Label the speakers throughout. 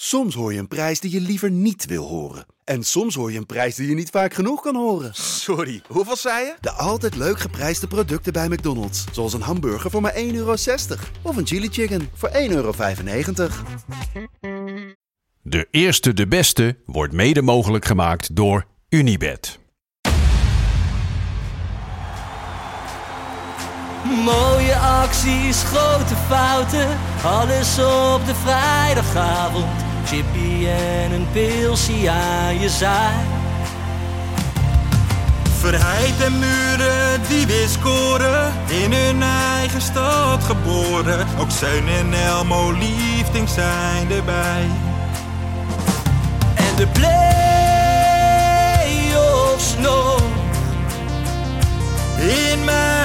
Speaker 1: Soms hoor je een prijs die je liever niet wil horen. En soms hoor je een prijs die je niet vaak genoeg kan horen.
Speaker 2: Sorry, hoeveel zei je?
Speaker 1: De altijd leuk geprijsde producten bij McDonald's. Zoals een hamburger voor maar 1,60 euro. Of een chili chicken voor 1,95 euro.
Speaker 3: De eerste, de beste wordt mede mogelijk gemaakt door Unibed.
Speaker 4: Mooie acties, grote fouten, alles op de vrijdagavond. Chippy en een pilsie aan je zaai.
Speaker 5: Verheid en muren die weer scoren, in hun eigen stad geboren. Ook Zeun en Elmo liefdings zijn erbij.
Speaker 4: En de play-offs nog.
Speaker 5: In mij.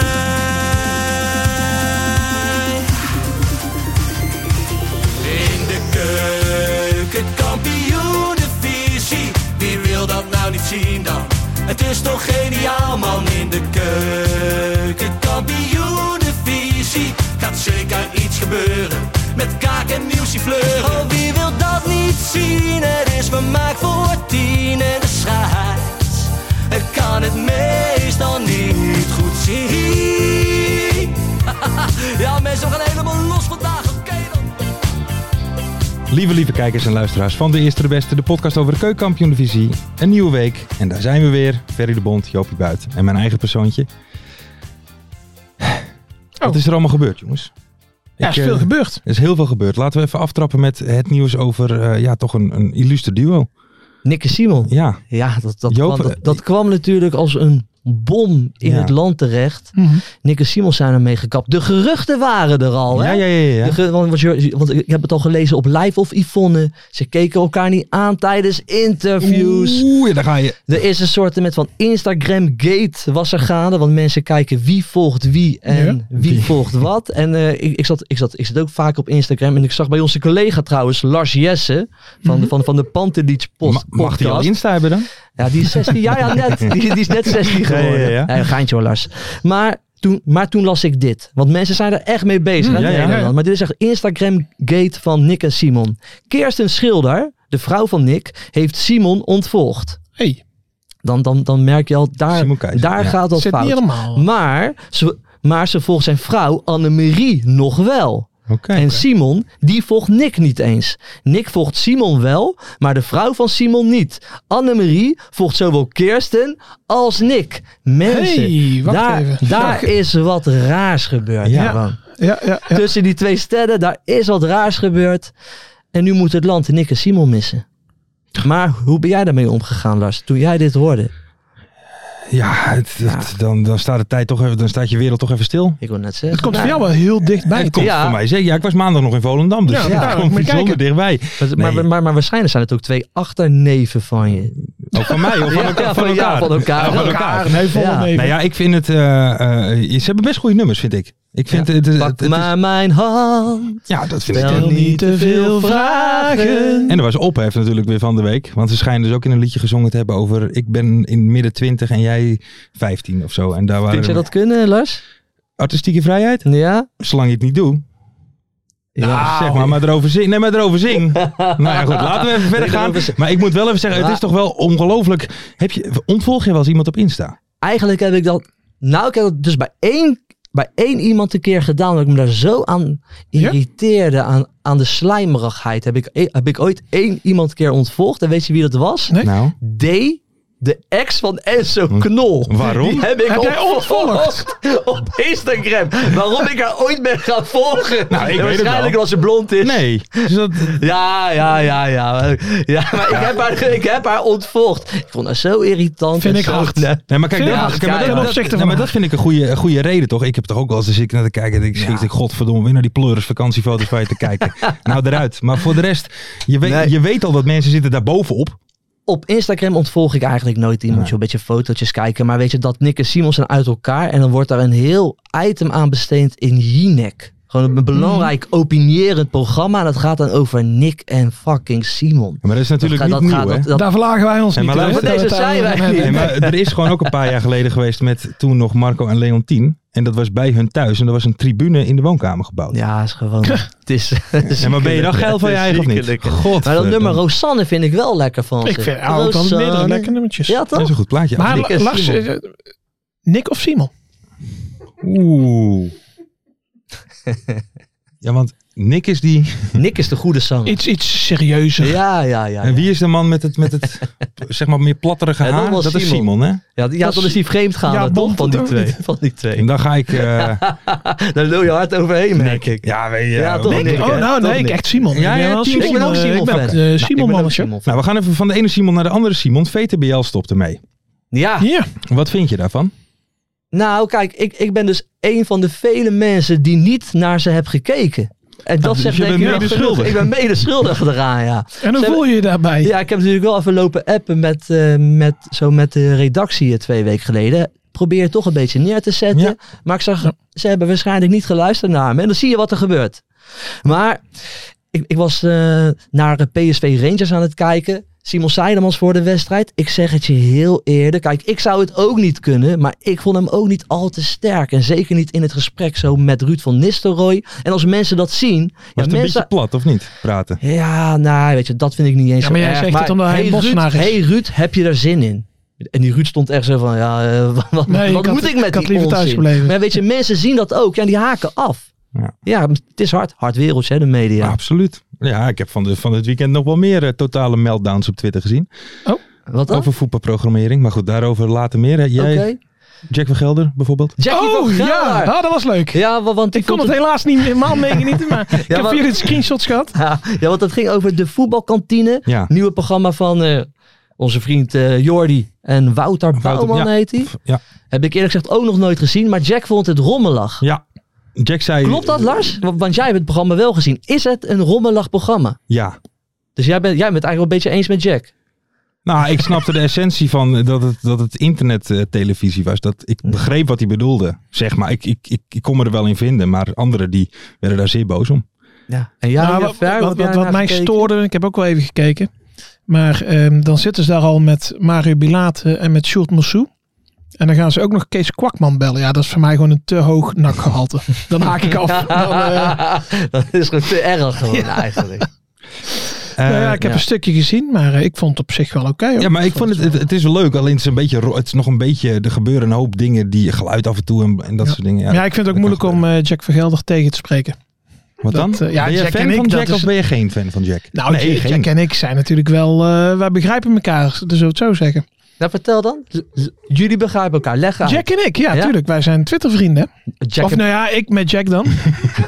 Speaker 4: In de keuken, kampioen de visie. Wie wil dat nou niet zien dan? Het is toch geniaal man in de keuken, kampioen de visie. Gaat zeker iets gebeuren met kaak en nieuwsje fleuren. Oh, wie wil dat niet zien? Het is vermaakt voor tien en de scheids. Ik kan het meestal niet goed zien. ja, mensen we gaan helemaal los vandaag. Oké dan.
Speaker 6: Lieve, lieve kijkers en luisteraars van De Eerste de Beste, de podcast over de keukenkampioen divisie. Een nieuwe week en daar zijn we weer. Ferry de Bond, Joopie Buit en mijn eigen persoontje. Wat is er allemaal gebeurd, jongens?
Speaker 7: Ja,
Speaker 6: Ik,
Speaker 7: is veel
Speaker 6: eh,
Speaker 7: gebeurd.
Speaker 6: Er is heel veel gebeurd. Laten we even aftrappen met het nieuws over eh, ja, toch een, een illustre duo.
Speaker 7: Nick en Simon.
Speaker 6: Ja,
Speaker 8: Ja, dat, dat,
Speaker 6: Joop,
Speaker 8: kwam, dat,
Speaker 6: eh,
Speaker 8: dat kwam natuurlijk als een bom in
Speaker 6: Ja.
Speaker 8: het land terecht. Nick en Simons zijn ermee gekapt. De geruchten waren er al.
Speaker 6: ja,
Speaker 8: hè?
Speaker 6: ja, ja.
Speaker 8: De
Speaker 6: ja.
Speaker 8: ge- want, want je- want ik heb het al gelezen op Live of Yvonne. Ze keken elkaar niet aan tijdens interviews.
Speaker 6: Oeh, ja, daar ga je.
Speaker 8: Er is een soort met van Instagram gate was er gaande. Want mensen kijken wie volgt wie en wie volgt wat. En eh, ik, ik, zat, ik, zat, ik zat ook vaak op Instagram. En ik zag bij onze collega trouwens, Lars Jesse. Van, van, van de Pantelich
Speaker 6: Ma-
Speaker 8: Post.
Speaker 6: mag die al
Speaker 8: podcast.
Speaker 6: Insta hebben dan?
Speaker 8: Ja, die is 16. Ja, ja, net. Die, die is net
Speaker 6: Ja,
Speaker 8: 16
Speaker 6: ja,
Speaker 8: geworden.
Speaker 6: ja.
Speaker 8: Nee, geintje hoor, Lars. Maar toen, maar toen las ik dit. Want mensen zijn er echt mee bezig. uit
Speaker 6: Mm, ja, ja, ja.
Speaker 8: Nederland. Maar dit is echt Instagram-gate van Nick en Simon. Kirsten Schilder, de vrouw van Nick, heeft Simon ontvolgd.
Speaker 7: Hey,
Speaker 8: Dan, dan, dan merk je al, daar,
Speaker 6: Simon Keizer,
Speaker 8: daar
Speaker 6: ja.
Speaker 8: gaat dat
Speaker 7: zit niet
Speaker 8: fout.
Speaker 7: helemaal.
Speaker 8: Maar ze, maar ze volgt zijn vrouw Annemarie nog wel.
Speaker 6: Oké.
Speaker 8: En Simon, die volgt Nick niet eens. Nick volgt Simon wel, maar de vrouw van Simon niet. Annemarie volgt zowel Kirsten als Nick. Mensen,
Speaker 7: Hey, wacht
Speaker 8: daar,
Speaker 7: even.
Speaker 8: daar is wat raars gebeurd.
Speaker 6: Ja.
Speaker 8: gewoon.
Speaker 7: Ja, ja, ja.
Speaker 8: Tussen die twee sterren, daar is wat raars gebeurd. En nu moet het land Nick en Simon missen. Maar hoe ben jij daarmee omgegaan, Lars, toen jij dit hoorde?
Speaker 6: Ja, het, het- dan, dan staat de tijd toch even, dan staat je wereld toch even stil.
Speaker 8: Ik wil net zeggen.
Speaker 7: Het komt voor
Speaker 8: nou,
Speaker 7: jou wel heel dichtbij.
Speaker 6: Het komt
Speaker 8: Ja.
Speaker 6: voor mij. Zeker. Ja, ik was maandag nog in Volendam, dus
Speaker 7: Ja,
Speaker 6: ja,
Speaker 7: daar
Speaker 6: dat
Speaker 7: moet
Speaker 6: komt
Speaker 7: ik
Speaker 6: bijzonder dichtbij.
Speaker 8: maar,
Speaker 6: Nee.
Speaker 8: maar, maar waarschijnlijk zijn het ook twee achterneven van je.
Speaker 6: Ook van mij, of van, elkaar,
Speaker 8: ja,
Speaker 6: van
Speaker 8: ja,
Speaker 6: elkaar.
Speaker 8: van elkaar.
Speaker 6: Ja, van elkaar.
Speaker 7: Nee, volgende
Speaker 8: Ja.
Speaker 7: even.
Speaker 6: Nou ja, ik vind het... eh, eh, ze hebben best goede nummers, vind ik. Ik vind het... het,
Speaker 8: Pak
Speaker 6: het- het
Speaker 8: maar mijn hand.
Speaker 6: is- ja, dat vind ik...
Speaker 8: Stel niet te veel vragen.
Speaker 6: En er was ophef natuurlijk weer van de week. Want ze schijnen dus ook in een liedje gezongen te hebben over... Ik ben in midden twintig en jij vijftien of zo. En daar waren...
Speaker 8: Vind je dat kunnen, Lars?
Speaker 6: Artistieke vrijheid?
Speaker 8: Ja?
Speaker 6: Zolang je het niet doet.
Speaker 8: Ja.
Speaker 6: zeg maar, maar erover zing. Nee, maar erover zing. nou ja, goed, laten we even verder gaan. Maar ik moet wel even zeggen, het
Speaker 8: Ja.
Speaker 6: is toch wel ongelooflijk. Heb je, ontvolg je wel eens iemand op Insta?
Speaker 8: Eigenlijk heb ik dat... Nou, ik heb dat dus bij één, bij één iemand een keer gedaan... dat ik me daar zo aan irriteerde, aan, aan de slijmerigheid. Heb ik, e- heb ik ooit één iemand een keer ontvolgd. En weet je wie dat was?
Speaker 7: Nee.
Speaker 6: Nou,
Speaker 8: D, de ex van Enzo Knol.
Speaker 6: waarom?
Speaker 8: Die heb ik
Speaker 7: Heb jij
Speaker 8: ontvolgd op Instagram. Waarom ik haar ooit ben gaan volgen.
Speaker 6: Nou, ik weet het
Speaker 8: En waarschijnlijk
Speaker 6: wel.
Speaker 8: als ze blond is.
Speaker 6: Nee. Dus dat,
Speaker 8: Ja, ja, ja, ja. Ja, maar ik heb haar, ik heb haar ontvolgd. Ik vond haar zo irritant.
Speaker 7: Vind
Speaker 8: en
Speaker 7: ik
Speaker 8: zo-
Speaker 7: hard.
Speaker 8: Nee.
Speaker 6: nee, maar kijk,
Speaker 7: Vind
Speaker 6: dat,
Speaker 7: je dat-
Speaker 6: kijk, maar
Speaker 8: ja,
Speaker 6: dat,
Speaker 8: ten
Speaker 6: dat-
Speaker 7: opzichte
Speaker 6: nee, maar
Speaker 7: van-
Speaker 6: dat vind ik een goede, een goede reden, toch? Ik heb toch ook wel eens als ik naar te kijken en ik schiet ik godverdomme weer naar die pleuris vakantiefoto's van je te kijken. nou, eruit. Maar voor de rest, je weet,
Speaker 8: Nee.
Speaker 6: je weet al dat mensen zitten daar bovenop.
Speaker 8: Op Instagram ontvolg ik eigenlijk nooit iemand. Je een beetje fotootjes kijken. Maar weet je dat Nick en Simon zijn uit elkaar. En dan wordt daar een heel item aan besteed in Jinek. Gewoon
Speaker 6: Hmm.
Speaker 8: een belangrijk opinierend programma. En dat gaat dan over Nick en fucking Simon.
Speaker 6: Maar dat is natuurlijk
Speaker 8: dat,
Speaker 6: niet
Speaker 8: gaat-
Speaker 6: nieuw, hè?
Speaker 8: dat- dat-
Speaker 7: Daar verlagen wij ons
Speaker 6: Hey,
Speaker 7: niet.
Speaker 6: maar
Speaker 7: hè?
Speaker 6: luister,
Speaker 7: Dat-
Speaker 8: deze
Speaker 7: dat-
Speaker 8: zijn wij
Speaker 7: dat-
Speaker 8: niet.
Speaker 6: Nee, maar er is gewoon ook een paar jaar geleden geweest met toen nog Marco en Leontien. En dat was bij hun thuis. En er was een tribune in de woonkamer gebouwd. Ja,
Speaker 8: ja, is gewoon... het is, het is
Speaker 6: maar ben je dan
Speaker 8: ziekelijk.
Speaker 6: geil van je
Speaker 8: Het is
Speaker 6: eigen of niet?
Speaker 8: ziekelijk.
Speaker 6: God.
Speaker 8: Maar dat nummer Rosanne vind ik wel lekker van
Speaker 7: Ik
Speaker 8: ze.
Speaker 7: vind oude kan
Speaker 8: Rosanne.
Speaker 7: midden lekker nummertjes.
Speaker 8: eh, Ja,
Speaker 6: Dat is
Speaker 8: toch?
Speaker 6: een goed plaatje.
Speaker 7: maar
Speaker 8: Nick
Speaker 7: Nick,
Speaker 8: en
Speaker 7: lach,
Speaker 8: Simon.
Speaker 7: eh, Nick of Simon?
Speaker 6: Oeh. Ja, want Nick is die...
Speaker 8: Nick is de goede zanger.
Speaker 7: Iets, iets serieuzer.
Speaker 8: Ja, ja, ja.
Speaker 6: En wie is de man met het, met het zeg maar, meer platterige
Speaker 8: Ja, dat
Speaker 6: haar?
Speaker 8: was
Speaker 6: Dat is
Speaker 8: Simon.
Speaker 6: Simon, hè?
Speaker 8: Ja, die- ja,
Speaker 7: Dat is-
Speaker 8: dan is die vreemd gaan
Speaker 7: Ja,
Speaker 8: toch?
Speaker 7: Bond
Speaker 8: Van die
Speaker 7: toch?
Speaker 8: twee. Van die twee.
Speaker 6: En dan ga ik... eh,
Speaker 8: Daar lul je hard overheen, merk ik.
Speaker 6: ja, weet je...
Speaker 8: Ja, toch,
Speaker 6: Nick.
Speaker 8: Nick, hè?
Speaker 7: Oh, nou
Speaker 8: Toch
Speaker 7: nee, ik
Speaker 8: Nick.
Speaker 7: echt Simon.
Speaker 6: Ja,
Speaker 7: Ik ben
Speaker 6: ja,
Speaker 7: wel
Speaker 6: Team
Speaker 7: Simon.
Speaker 8: Ik ben ook
Speaker 7: eh,
Speaker 8: Simon
Speaker 7: ik ben
Speaker 8: fan.
Speaker 7: ook, eh,
Speaker 8: Nou, ik ben
Speaker 7: Simon
Speaker 8: ook
Speaker 7: mannetje.
Speaker 8: fan.
Speaker 6: Nou, we gaan even van de ene Simon naar de andere Simon. VTBL stopt ermee.
Speaker 8: Ja,
Speaker 7: Ja,
Speaker 6: Wat vind je daarvan?
Speaker 8: nou kijk, ik, ik ben dus een van de vele mensen die niet naar ze heb gekeken. En dat
Speaker 6: dus
Speaker 8: zegt
Speaker 6: je
Speaker 8: denk
Speaker 6: bent
Speaker 8: ik wel
Speaker 6: mede
Speaker 8: genoeg.
Speaker 6: schuldig.
Speaker 8: Ik ben mede schuldig eraan, ja.
Speaker 7: en hoe
Speaker 8: Ze-
Speaker 7: voel je je daarbij?
Speaker 8: Ja, ik heb natuurlijk wel even lopen appen met, eh, met, zo met de redactie eh, twee weken geleden. Probeer het toch een beetje neer te zetten.
Speaker 6: Ja.
Speaker 8: Maar ik zag, ze hebben waarschijnlijk niet geluisterd naar me. En dan zie je wat er gebeurt. Maar ik, ik was eh, naar PSV Rangers aan het kijken. Simon Seidemans voor de wedstrijd. Ik zeg het je heel eerlijk. Kijk, ik zou het ook niet kunnen. Maar ik vond hem ook niet al te sterk. En zeker niet in het gesprek zo met Ruud van Nistelrooy. En als mensen dat zien.
Speaker 6: Was het
Speaker 8: ja,
Speaker 6: een
Speaker 8: mensen,
Speaker 6: beetje plat, of niet? Praten.
Speaker 8: ja, nou, weet je, dat vind ik niet eens
Speaker 7: Ja,
Speaker 8: zo
Speaker 7: maar jij
Speaker 8: erg.
Speaker 7: zegt het omdat hij
Speaker 8: hey,
Speaker 7: een Bossenaar
Speaker 8: Ruud,
Speaker 7: is.
Speaker 8: hey Ruud, heb je daar zin in? En die Ruud stond echt zo van, ja, eh, wat, wat
Speaker 7: Nee, ik
Speaker 8: moet
Speaker 7: had-
Speaker 8: ik
Speaker 7: ik
Speaker 8: met
Speaker 7: had
Speaker 8: die
Speaker 7: liever
Speaker 8: onzin?
Speaker 7: thuisgebleven.
Speaker 8: Maar weet je, mensen zien dat ook. Ja, die haken af.
Speaker 6: Ja.
Speaker 8: Ja, het is hard. Hard wereldje, hè, de media.
Speaker 6: Absoluut. Ja, ik heb van, de, van het weekend nog wel meer eh, totale meltdowns op Twitter gezien.
Speaker 8: wat dan?
Speaker 6: Over voetbalprogrammering. Maar goed, daarover later meer. hè. Jij,
Speaker 8: Oké.
Speaker 6: Jack van Gelder bijvoorbeeld.
Speaker 8: Jackie
Speaker 7: Oh
Speaker 8: van
Speaker 7: ja,
Speaker 8: Gelder.
Speaker 7: ah, dat was leuk.
Speaker 8: Ja, wa- want ik,
Speaker 7: Ik kon
Speaker 8: vond
Speaker 7: het helaas niet helemaal meegenieten, maar ik heb
Speaker 8: maar-
Speaker 7: hier het screenshots gehad.
Speaker 8: Ja, ja, want dat ging over de voetbalkantine.
Speaker 6: Ja.
Speaker 8: Nieuwe programma van eh, onze vriend eh, Jordi en Wouter,
Speaker 6: Wouter,
Speaker 8: Bouwman
Speaker 6: ja.
Speaker 8: heet hij.
Speaker 6: Ja.
Speaker 8: Heb ik eerlijk gezegd ook nog nooit gezien. Maar Jack vond het rommelig.
Speaker 6: ja. Jack zei...
Speaker 8: Klopt dat, Lars? Want want jij hebt het programma wel gezien. Is het een rommelig programma?
Speaker 6: Ja.
Speaker 8: Dus jij bent, jij bent eigenlijk wel een beetje eens met Jack.
Speaker 6: Nou, ik snapte de essentie van eh, dat het, dat het internettelevisie was. Dat ik begreep wat hij bedoelde. Zeg maar, ik, ik, ik, ik kon me er wel in vinden. Maar anderen die werden daar zeer boos om.
Speaker 8: Ja. En jij,
Speaker 7: Nou,
Speaker 8: ja,
Speaker 7: wat
Speaker 8: Fer, hoe
Speaker 7: wat,
Speaker 8: heb jij
Speaker 7: wat, wat
Speaker 8: naar
Speaker 7: mij
Speaker 8: gekeken?
Speaker 7: stoorde, ik heb ook wel even gekeken. Maar ehm, dan zitten ze daar al met Mario Bilate en met Sjoerd Mossou. En dan gaan ze ook nog Kees Kwakman bellen. Ja, dat is voor mij gewoon een te hoog nakgehalte. Dan haak ik af. Dan, eh,
Speaker 8: dat is gewoon te erg gewoon eigenlijk.
Speaker 6: Eh,
Speaker 7: nou ja, ik heb
Speaker 8: ja.
Speaker 7: een stukje gezien, maar eh, ik vond het op zich wel oké. hoor.
Speaker 6: Ja, maar ik vond het, het, het is wel leuk. Alleen het is een beetje, ro- het is nog een beetje, er gebeuren een hoop dingen die geluid af en toe en, en dat
Speaker 7: Ja.
Speaker 6: soort dingen. Ja,
Speaker 7: Maar ja, ik vind het ook
Speaker 6: dat
Speaker 7: moeilijk
Speaker 6: kan
Speaker 7: om eh, Jack Vergelder tegen te spreken.
Speaker 6: Wat dan?
Speaker 7: dat, eh, ja,
Speaker 6: ben je
Speaker 7: Jack
Speaker 6: fan
Speaker 7: en ik,
Speaker 6: van
Speaker 7: dat
Speaker 6: Jack
Speaker 7: is
Speaker 6: of ben je geen fan van Jack?
Speaker 7: Nou,
Speaker 6: nee,
Speaker 7: Jack,
Speaker 6: geen.
Speaker 7: Jack en ik zijn natuurlijk wel, eh, wij begrijpen elkaar, dus we het zo zeggen.
Speaker 8: Nou, vertel dan. L- l- Jullie begrijpen elkaar. Leg uit.
Speaker 7: Jack en ik, ja,
Speaker 8: Ja?
Speaker 7: tuurlijk. Wij zijn Twitter-vrienden.
Speaker 8: Jack
Speaker 7: Of
Speaker 8: heb-
Speaker 7: nou ja, ik met Jack dan.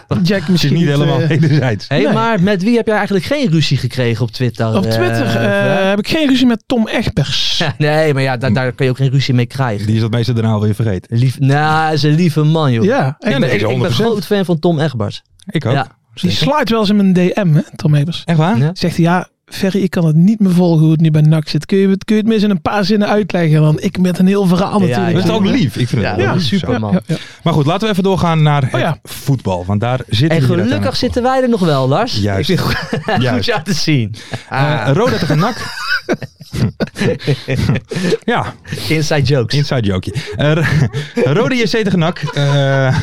Speaker 7: Jack
Speaker 6: het is
Speaker 7: misschien
Speaker 6: niet
Speaker 7: eh,
Speaker 6: helemaal wederzijds.
Speaker 8: Hé,
Speaker 7: nee.
Speaker 8: maar met wie heb jij eigenlijk geen ruzie gekregen op Twitter?
Speaker 7: Op
Speaker 8: eh,
Speaker 7: Twitter eh,
Speaker 8: Fer?
Speaker 7: heb ik geen ruzie met Tom Egbers.
Speaker 8: nee, maar ja, daar, daar kun je ook geen ruzie mee krijgen.
Speaker 6: Die is dat meestal daarna alweer vergeten.
Speaker 8: Lief, nou, hij is een lieve man, joh.
Speaker 7: Ja,
Speaker 8: ik,
Speaker 7: echt.
Speaker 8: ben,
Speaker 6: nee,
Speaker 8: ik, ik ben
Speaker 6: 100%.
Speaker 8: groot fan van Tom Egbers.
Speaker 6: Ik ook.
Speaker 8: Ja.
Speaker 7: die sluit wel eens in mijn DM, hè, Tom Egbers.
Speaker 6: Echt waar?
Speaker 8: Ja.
Speaker 7: Zegt hij, ja, Ferry, ik kan het niet meer volgen hoe het nu bij NAC zit. Kun je, het- kun je het mis in een paar zinnen uitleggen? Want ik met een heel verhaal
Speaker 8: Ja,
Speaker 7: natuurlijk.
Speaker 6: Dat is
Speaker 8: ja.
Speaker 6: ook lief. Ik vind
Speaker 8: Ja,
Speaker 6: het
Speaker 8: dat
Speaker 6: wel
Speaker 8: is
Speaker 6: lief,
Speaker 8: super,
Speaker 6: zo.
Speaker 8: man.
Speaker 7: Ja, ja.
Speaker 6: Maar goed, laten we even doorgaan naar het
Speaker 7: Oh, ja.
Speaker 6: voetbal. Want daar zitten
Speaker 8: En
Speaker 6: we hier
Speaker 8: gelukkig
Speaker 6: uiteindelijk
Speaker 8: zitten wij er nog wel, Lars.
Speaker 6: Juist.
Speaker 8: Ik vind het goed,
Speaker 6: Juist.
Speaker 8: goed jou te zien.
Speaker 6: voor.
Speaker 8: Ah,
Speaker 6: Eh, Roda tegen NAC. ja,
Speaker 8: Inside jokes.
Speaker 6: Inside jokeje. Eh, Rode JC tegen NAC. Eh,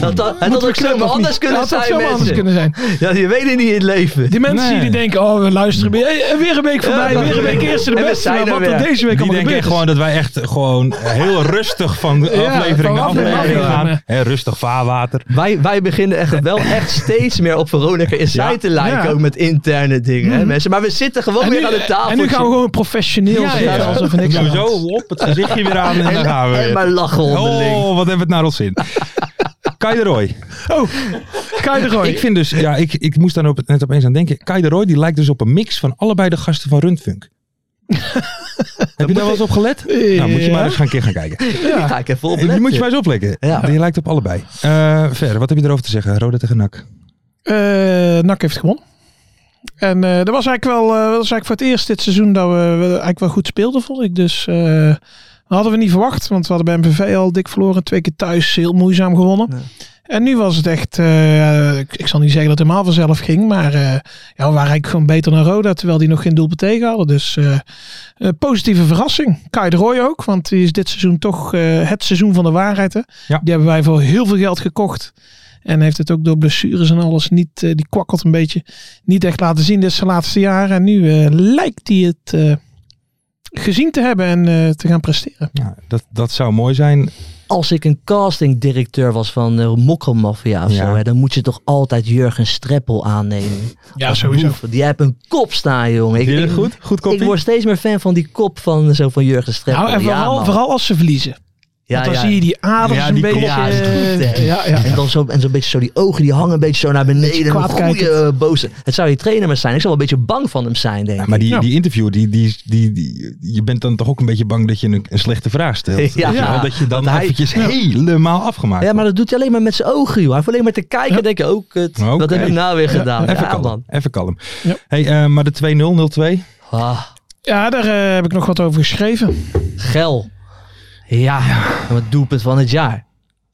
Speaker 8: dat, dat, het had ook zomaar anders kunnen
Speaker 7: Dat
Speaker 8: zijn,
Speaker 7: zou
Speaker 8: mensen.
Speaker 7: anders kunnen zijn.
Speaker 8: Ja, je weet het niet in het leven.
Speaker 7: Die mensen
Speaker 6: Nee.
Speaker 7: die denken, oh, we luisteren weer. Hey, weer een week voorbij,
Speaker 8: Ja,
Speaker 7: weer een week eerste de
Speaker 8: en we
Speaker 7: beste.
Speaker 8: zijn
Speaker 7: Maar
Speaker 8: er
Speaker 7: wat er
Speaker 8: weer.
Speaker 7: deze week
Speaker 6: die
Speaker 7: allemaal
Speaker 6: denken
Speaker 7: gebeurd is.
Speaker 6: gewoon dat wij echt gewoon heel rustig van aflevering
Speaker 7: van
Speaker 6: naar aflevering
Speaker 7: aflevering,
Speaker 6: gaan.
Speaker 7: ja.
Speaker 6: Hè, rustig vaarwater.
Speaker 8: Wij, wij beginnen echt wel echt steeds meer op Veronica Inside
Speaker 6: Ja.
Speaker 8: te lijken.
Speaker 7: Ja.
Speaker 8: Ook met interne dingen, hè, mensen. Maar we zitten gewoon
Speaker 7: En
Speaker 8: weer
Speaker 7: nu,
Speaker 8: aan de tafel.
Speaker 7: en nu gaan we gewoon professioneel
Speaker 6: Ja,
Speaker 7: zijn,
Speaker 6: ja, ja.
Speaker 7: alsof er niks
Speaker 6: Doen
Speaker 7: aan
Speaker 6: we
Speaker 7: de hand
Speaker 6: zo
Speaker 7: is.
Speaker 6: op het gezichtje weer aan en dan gaan we
Speaker 8: En maar
Speaker 6: weer.
Speaker 8: lachen onderling.
Speaker 6: Oh, wat hebben we het naar ons zin. Kai de Roy.
Speaker 7: Oh, Kai de Roy.
Speaker 6: Ik vind dus, ja, ik, ik moest daar op, net opeens aan denken. Kai de Roy die lijkt dus op een mix van allebei de gasten van Rundfunk. Heb je daar wel eens op gelet? Nou, moet je maar eens gaan een keer gaan kijken.
Speaker 8: Die ga ik even op.
Speaker 6: Die moet je maar eens oplekken.
Speaker 8: Ja.
Speaker 6: Die lijkt op allebei. Eh Ver, wat heb je erover te zeggen? Roda tegen NAC.
Speaker 7: Eh, NAC heeft gewonnen. En eh, dat was eigenlijk wel eh, dat was eigenlijk voor het eerst dit seizoen dat we, we eigenlijk wel goed speelden, vond ik. Dus eh, Dat hadden we niet verwacht, want we hadden bij MVV al dik verloren. Twee keer thuis heel moeizaam gewonnen.
Speaker 8: Ja.
Speaker 7: En nu was het echt, eh, ik, ik zal niet zeggen dat het helemaal vanzelf ging, maar eh, ja, we waren eigenlijk gewoon beter dan Roda, terwijl die nog geen doelpunt tegen hadden. Dus eh, eh, positieve verrassing. Kai de Roy ook, want die is dit seizoen toch eh, het seizoen van de waarheid. Hè?
Speaker 6: Ja.
Speaker 7: Die hebben wij voor heel veel geld gekocht. En heeft het ook door blessures en alles niet, eh, die kwakkelt een beetje, niet echt laten zien dit zijn laatste jaren. En nu eh, lijkt hij het eh, gezien te hebben en eh, te gaan presteren.
Speaker 6: Ja, Nou, dat, dat zou mooi zijn.
Speaker 8: Als ik een castingdirecteur was van eh Mokkelmafia of
Speaker 6: Ja.
Speaker 8: zo, hè, dan moet je toch altijd Jurgen Streppel aannemen.
Speaker 7: Ja,
Speaker 8: Als boef. Die heeft een kop staan, jongen.
Speaker 6: Vind je dat
Speaker 8: ik-
Speaker 6: goed? Goed
Speaker 8: Ik
Speaker 6: kopie?
Speaker 8: word steeds meer fan van die kop van, zo van Jurgen Streppel.
Speaker 7: Nou, en vooral,
Speaker 8: man.
Speaker 7: vooral als ze verliezen.
Speaker 8: Ja,
Speaker 7: Want dan
Speaker 8: ja.
Speaker 7: zie je die aders
Speaker 6: Ja,
Speaker 7: een
Speaker 6: die
Speaker 7: beetje...
Speaker 6: klopt.
Speaker 8: Ja, dat is goed, hè.
Speaker 7: eh, ja, ja.
Speaker 8: En dan zo, en zo'n beetje zo die ogen, die hangen een beetje zo naar beneden. Een
Speaker 7: kwaadkijkend.
Speaker 8: goede eh, boze. Het zou die trainer maar zijn. Ik zou wel een beetje bang van hem zijn, denk
Speaker 6: Ja,
Speaker 8: ik.
Speaker 6: maar die,
Speaker 7: Ja.
Speaker 6: die interview, die, die, die, die- je bent dan toch ook een beetje bang dat je een, een slechte vraag stelt.
Speaker 8: Ja.
Speaker 6: Weet je wel? Dat je dan
Speaker 8: Want hij-
Speaker 6: eventjes helemaal afgemaakt
Speaker 8: Ja, maar
Speaker 6: wordt.
Speaker 8: dat doet hij alleen maar met zijn ogen, joh. Hij hoeft alleen maar te kijken en denken, oh kut,
Speaker 6: Oké.
Speaker 8: wat heb ik nou weer
Speaker 7: Ja,
Speaker 8: gedaan?
Speaker 6: Even
Speaker 8: Ja,
Speaker 6: kalm,
Speaker 8: man.
Speaker 6: even kalm.
Speaker 7: Ja.
Speaker 6: Hey, eh, maar de 2-0, 0-2.
Speaker 8: Ah,
Speaker 7: Ja, daar eh, heb ik nog wat over geschreven.
Speaker 8: gel. Ja, en het doelpunt van het jaar.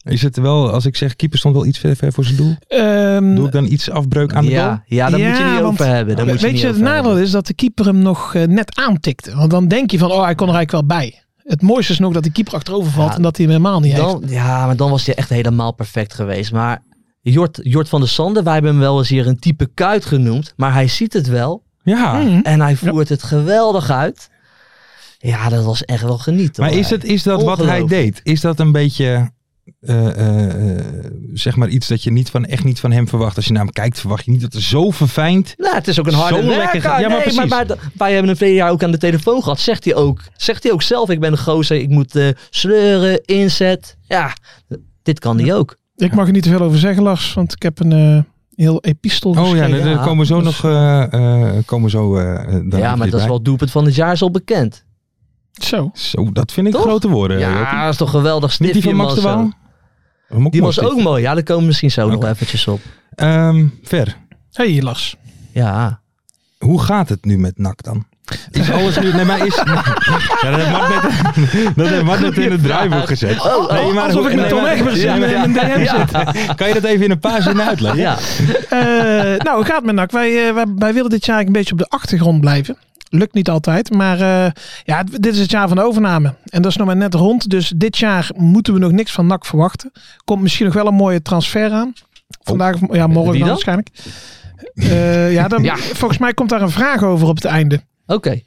Speaker 6: Is het wel, als ik zeg keeper stond wel iets ver, ver voor zijn doel?
Speaker 7: Ehm,
Speaker 6: Doe ik dan iets afbreuk aan de goal?
Speaker 8: ja, ja, daar moet je
Speaker 7: Ja,
Speaker 8: niet
Speaker 7: want-
Speaker 8: over hebben. Daar moet je
Speaker 7: weet
Speaker 8: niet
Speaker 7: je, het
Speaker 8: over
Speaker 7: nadeel
Speaker 8: hebben.
Speaker 7: is dat de keeper hem nog eh, net aantikte. Want dan denk je van, oh, hij kon er eigenlijk wel bij. Het mooiste is nog dat de keeper achterover valt
Speaker 8: Ja,
Speaker 7: en dat hij hem helemaal niet heeft.
Speaker 8: Dan, ja, maar dan was hij echt helemaal perfect geweest. Maar Jort, Jort van der Sande, wij hebben hem wel eens hier een type kuit genoemd. Maar hij ziet het wel.
Speaker 6: Ja.
Speaker 7: Mhm.
Speaker 8: En hij voert het geweldig uit. Ja, dat was echt wel genieten.
Speaker 6: Maar
Speaker 8: hoor.
Speaker 6: is, het, is dat wat hij
Speaker 8: Ongelooflijk.
Speaker 6: deed? Is dat een beetje, eh, eh, eh, zeg maar iets dat je niet van, echt niet van hem verwacht? Als je naar hem kijkt, verwacht je niet dat er zo verfijnd...
Speaker 8: Nou, het is ook een harde
Speaker 6: Zo
Speaker 8: werker.
Speaker 6: lekker ge- ja, maar
Speaker 8: nee, maar,
Speaker 6: precies.
Speaker 8: maar d- wij hebben hem vorig jaar ook aan de telefoon gehad. Zegt hij ook, zegt hij ook zelf, ik ben een gozer, ik moet eh, sleuren, inzet. Ja, dit kan hij ook.
Speaker 7: Ik mag er niet te veel over zeggen, Lars, want ik heb een eh, heel epistel
Speaker 6: Oh ja,
Speaker 7: geschreven.
Speaker 6: daar daar komen we zo
Speaker 7: dus-
Speaker 6: nog... eh, eh, komen we zo, eh, eh, daar
Speaker 8: ja, maar
Speaker 6: even
Speaker 8: dat is
Speaker 6: bij.
Speaker 8: wel het doelpunt van het jaar, is al bekend.
Speaker 7: Zo.
Speaker 6: Zo, dat vind ik
Speaker 8: Toch?
Speaker 6: grote woorden. Jopie.
Speaker 8: ja, dat is toch geweldig
Speaker 6: Eh, Niet
Speaker 8: stiftje.
Speaker 6: die van Max de
Speaker 8: man, zo.
Speaker 6: Waal? Mok-
Speaker 8: eh, Die
Speaker 6: Mok
Speaker 8: was
Speaker 6: stift.
Speaker 8: ook mooi. Ja, daar komen we misschien zo nog
Speaker 6: Oké.
Speaker 8: eventjes op.
Speaker 6: Ehm, ver,
Speaker 7: hey, Lars.
Speaker 8: Ja.
Speaker 6: hoe gaat het nu met NAC dan? Is alles nu... Nee, maar is... Ja, dat heeft Mart net, dat heeft Mart net in het draaiboek gezet.
Speaker 8: Oh, oh,
Speaker 6: Nee, maar
Speaker 7: Alsof
Speaker 6: hoe-
Speaker 7: ik met
Speaker 6: nee,
Speaker 7: Tom
Speaker 6: maar-
Speaker 7: Egbers
Speaker 6: Ja,
Speaker 7: in
Speaker 6: ja.
Speaker 7: een DM zit.
Speaker 6: Kan je dat even in een paar zinnen uitleggen?
Speaker 8: Ja.
Speaker 7: Eh, nou, hoe gaat het met NAC? Wij, eh, wij, wij willen dit jaar een beetje op de achtergrond blijven. Lukt niet altijd, maar eh, ja, het- dit is het jaar van de overname. En dat is nog maar net rond, dus dit jaar moeten we nog niks van NAC verwachten. Komt misschien nog wel een mooie transfer aan. Vandaag, of- ja, morgen
Speaker 8: Wie dan?
Speaker 7: dan waarschijnlijk. Eh, ja, dan,
Speaker 8: Ja.
Speaker 7: volgens mij komt daar een vraag over op het einde.
Speaker 8: Oké.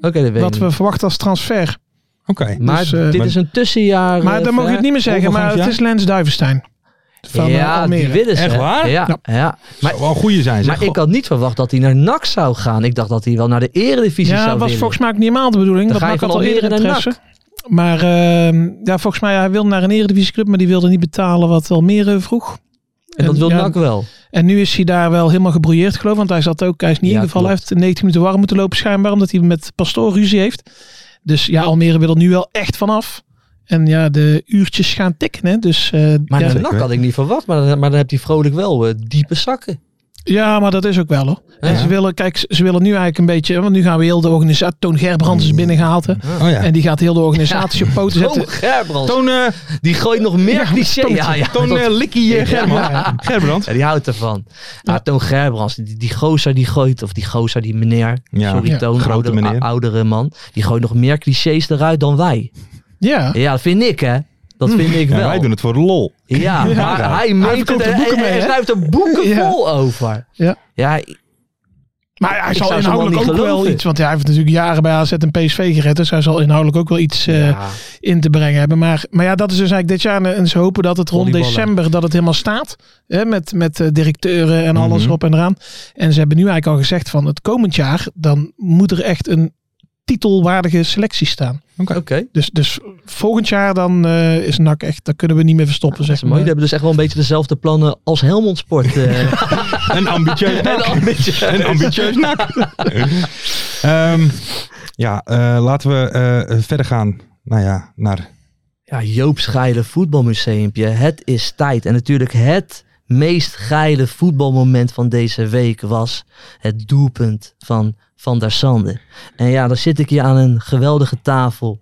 Speaker 8: Oké, dat weet
Speaker 7: Wat
Speaker 8: ik
Speaker 7: we
Speaker 8: niet.
Speaker 7: verwachten als transfer.
Speaker 6: Oké.
Speaker 8: Maar
Speaker 7: dus, eh,
Speaker 8: dit
Speaker 6: maar-
Speaker 8: is een tussenjaar.
Speaker 7: Maar
Speaker 8: eh,
Speaker 7: dan mogen we
Speaker 8: ver.
Speaker 7: het niet meer zeggen, maar
Speaker 6: volgend
Speaker 7: het is Lens Duivenstein. Van eh,
Speaker 8: ja,
Speaker 7: Almere.
Speaker 8: die willen ze.
Speaker 6: Echt waar?
Speaker 8: Ja. ja. Maar,
Speaker 6: Zou wel een goede zijn. Zeg.
Speaker 8: maar ik had niet verwacht dat hij naar NAC zou gaan. Ik dacht dat hij wel naar de eredivisie
Speaker 7: Ja,
Speaker 8: zou
Speaker 7: was
Speaker 8: willen.
Speaker 7: volgens mij ook niet helemaal de bedoeling.
Speaker 8: Dan
Speaker 7: dat
Speaker 8: ga je
Speaker 7: maakt
Speaker 8: van
Speaker 7: al eerder
Speaker 8: Almere naar
Speaker 7: interesse. Maar ehm, ja, volgens mij, hij wilde naar een eredivisieclub, maar die wilde niet betalen wat Almere vroeg.
Speaker 8: en dat wil
Speaker 7: ja,
Speaker 8: NAC wel.
Speaker 7: En nu is hij daar wel helemaal gebrouilleerd, geloof ik. Want hij zat ook, hij is niet
Speaker 8: Ja,
Speaker 7: in ieder geval, hij
Speaker 8: klopt.
Speaker 7: heeft 90 minuten warm moeten lopen schijnbaar, omdat hij met Pastoor ruzie heeft. Dus ja, Almere wil er nu wel echt vanaf. En ja, de uurtjes gaan tikken, hè. Dus, eh,
Speaker 8: Maar
Speaker 7: ja,
Speaker 8: naar NAC had ik niet verwacht. Maar, dan- maar dan heb hij vrolijk wel eh, diepe zakken.
Speaker 7: Ja, maar dat is ook wel hoor. En
Speaker 8: Ja.
Speaker 7: ze willen, kijk, ze- ze willen nu eigenlijk een beetje, want nu gaan we heel de organisatie, Toon Gerbrands
Speaker 8: Hmm.
Speaker 7: is binnengehaald hè.
Speaker 6: oh ja.
Speaker 7: En die gaat heel de organisatie op poten zetten.
Speaker 8: Oh, Gerbrands.
Speaker 6: Toon, eh
Speaker 8: Die gooit nog meer cliché.
Speaker 6: Toon,
Speaker 8: Ja, ja.
Speaker 6: Toon
Speaker 8: dat-
Speaker 6: eh, Likkie eh, German.
Speaker 8: Ja.
Speaker 6: Gerbrand.
Speaker 8: Ja, die houdt ervan. Ja, Toon Gerbrands, die, die gozer die gooit, of die gozer, die meneer,
Speaker 6: Ja.
Speaker 8: sorry
Speaker 7: Ja,
Speaker 8: Toon,
Speaker 6: grote
Speaker 8: oudere,
Speaker 6: meneer.
Speaker 8: ou- oudere man, die gooit nog meer clichés eruit dan wij.
Speaker 7: Ja.
Speaker 8: Ja, dat vind ik hè. Dat vind ik
Speaker 6: Ja,
Speaker 8: wel.
Speaker 6: wij doen het voor de lol.
Speaker 8: Ja,
Speaker 7: Ja.
Speaker 8: maar hij meent
Speaker 7: verkoopt
Speaker 8: het
Speaker 7: er
Speaker 8: en-
Speaker 7: boeken
Speaker 8: en
Speaker 7: mee,
Speaker 8: hij
Speaker 7: hè?
Speaker 8: schrijft er boeken
Speaker 7: Ja.
Speaker 8: vol over.
Speaker 7: Ja.
Speaker 8: ja
Speaker 7: Maar hij
Speaker 8: Ik
Speaker 7: zal
Speaker 8: zou ze wel
Speaker 7: inhoudelijk ook
Speaker 8: niet
Speaker 7: wel
Speaker 8: geloven.
Speaker 7: iets. Want hij heeft natuurlijk jaren bij AZ en PSV gered. Dus hij zal inhoudelijk ook wel iets eh,
Speaker 8: ja.
Speaker 7: in te brengen hebben. Maar, maar ja, dat is dus eigenlijk dit jaar. En ze hopen dat het rond
Speaker 8: Volleyballen.
Speaker 7: december dat het helemaal staat. Hè, met, met eh, directeuren en alles
Speaker 6: Mhm.
Speaker 7: erop en eraan. En ze hebben nu eigenlijk al gezegd van het komend jaar. Dan moet er echt een titelwaardige selectie staan.
Speaker 8: oké.
Speaker 7: Dus, dus volgend jaar dan eh, is NAC echt. Dat kunnen we niet meer verstoppen.
Speaker 8: Dat is
Speaker 7: Zeg
Speaker 8: mooi. Jullie
Speaker 7: maar.
Speaker 8: hebben dus echt wel een beetje dezelfde plannen als Helmond Sport. eh.
Speaker 6: Een ambitieus
Speaker 8: En
Speaker 6: nak.
Speaker 8: dan een beetje-
Speaker 6: Een ambitieus nak. Ehm, ja, eh, laten we eh, verder gaan. Nou ja, naar...
Speaker 8: Ja, Joop Schijlen voetbalmuseumpje. Het is tijd. En natuurlijk het meest geile voetbalmoment van deze week was het doelpunt van Van der Sande. En ja, dan zit ik hier aan een geweldige tafel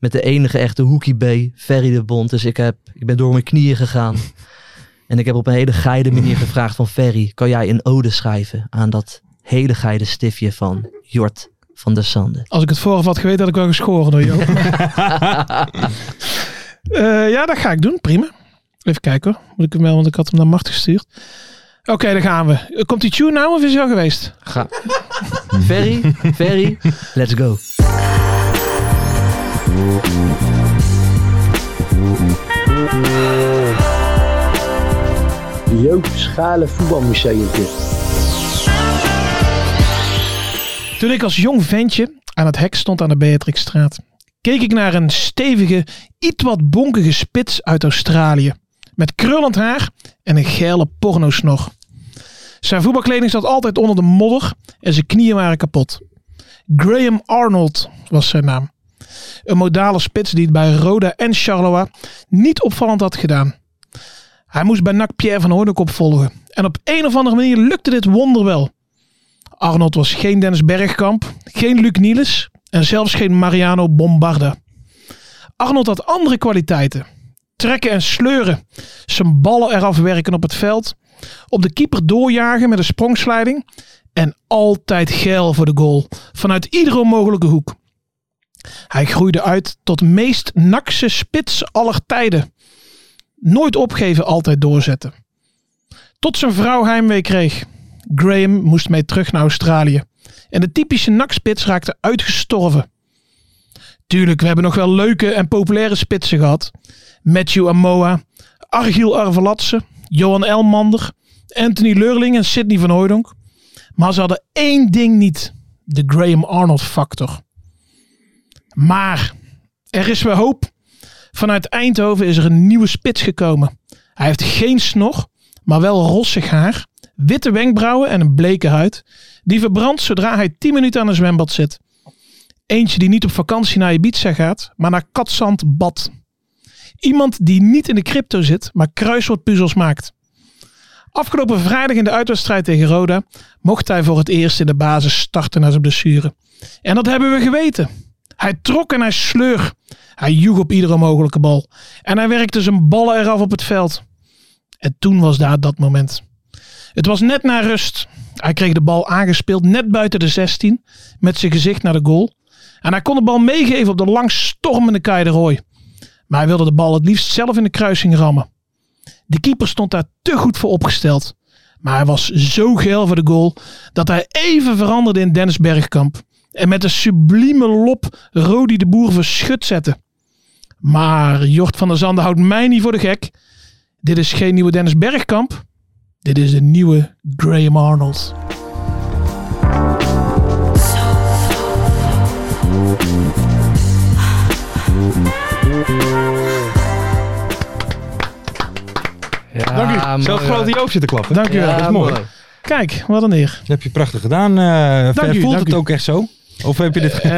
Speaker 8: Met de enige echte Hoekie B, Ferry de Bond. Dus ik, heb, ik ben door mijn knieën gegaan. en ik heb op een hele geide manier gevraagd van Ferry, kan jij een ode schrijven aan dat hele geide stiftje van Jort van der Sande?
Speaker 7: Als ik het vooraf had geweten, had ik wel geschoren door jou. Eh, ja, dat ga ik doen. Prima. Even kijken hoor. Moet ik hem wel, want ik had hem naar Mart gestuurd. Oké, daar gaan we. Eh, Komt die tune nou of is hij al geweest?
Speaker 8: Ga. Ferry, Ferry, let's go.
Speaker 9: Joop Schalen Voetbalmuseum.
Speaker 7: Toen ik als jong ventje aan het hek stond aan de Beatrixstraat, keek ik naar een stevige, iets wat bonkige spits uit Australië. Met krullend haar en een geile pornosnor. Zijn voetbalkleding zat altijd onder de modder en zijn knieën waren kapot. Graham Arnold was zijn naam. Een modale spits die het bij Roda en Charleroi niet opvallend had gedaan. Hij moest bij NAC Pierre van Hoornik opvolgen. En op een of andere manier lukte dit wonder wel. Arnold was geen Dennis Bergkamp, geen Luc Niels en zelfs geen Mariano Bombarda. Arnold had andere kwaliteiten. Trekken en sleuren. Zijn ballen eraf werken op het veld. Op de keeper doorjagen met een sprongsleiding. En altijd geil voor de goal. Vanuit iedere mogelijke hoek. Hij groeide uit tot meest nakse spits aller tijden. Nooit opgeven, altijd doorzetten. Tot zijn vrouw heimwee kreeg. Graham moest mee terug naar Australië. En de typische nakspits raakte uitgestorven. Tuurlijk, we hebben nog wel leuke en populaire spitsen gehad. Matthew Amoa, Argiel Arvelatse, Johan Elmander, Anthony Leurling en Sidney van Hooydonk. Maar ze hadden één ding niet. De Graham Arnold factor. Maar er is weer hoop. Vanuit Eindhoven is er een nieuwe spits gekomen. Hij heeft geen snor, maar wel rossig haar, witte wenkbrauwen en een bleke huid. Die verbrandt zodra hij 10 minuten aan een zwembad zit. Eentje die niet op vakantie naar Ibiza gaat, maar naar Katzand bad. Iemand die niet in de crypto zit, maar kruiswoordpuzzels maakt. Afgelopen vrijdag in de uitwedstrijd tegen Roda mocht hij voor het eerst in de basis starten na zijn blessure. En dat hebben we geweten. Hij trok en hij sleur. Hij joeg op iedere mogelijke bal. En hij werkte zijn ballen eraf op het veld. En toen was daar dat moment. Het was net na rust. Hij kreeg de bal aangespeeld net buiten de 16 met zijn gezicht naar de goal. En hij kon de bal meegeven op de langstormende Kai de Roy. Maar hij wilde de bal het liefst zelf in de kruising rammen. De keeper stond daar te goed voor opgesteld. Maar hij was zo geil voor de goal dat hij even veranderde in Dennis Bergkamp. En met een sublieme lop Rodi de Boer verschut zette. Maar Jort van der Zanden houdt mij niet voor de gek. Dit is geen nieuwe Dennis Bergkamp. Dit is de nieuwe Graham Arnold.
Speaker 8: Ja,
Speaker 6: Dank u. Zelf
Speaker 8: mooi,
Speaker 6: grote
Speaker 8: hoor.
Speaker 6: Joop zitten klappen.
Speaker 7: Dank u wel.
Speaker 8: Ja,
Speaker 7: Dat is mooi. Kijk, wat een eer.
Speaker 6: Dat heb je prachtig gedaan. eh Ver.
Speaker 7: Dank u,
Speaker 6: voelt
Speaker 7: dank
Speaker 6: het
Speaker 7: u.
Speaker 6: ook echt zo? Of heb je dit...
Speaker 7: Eh,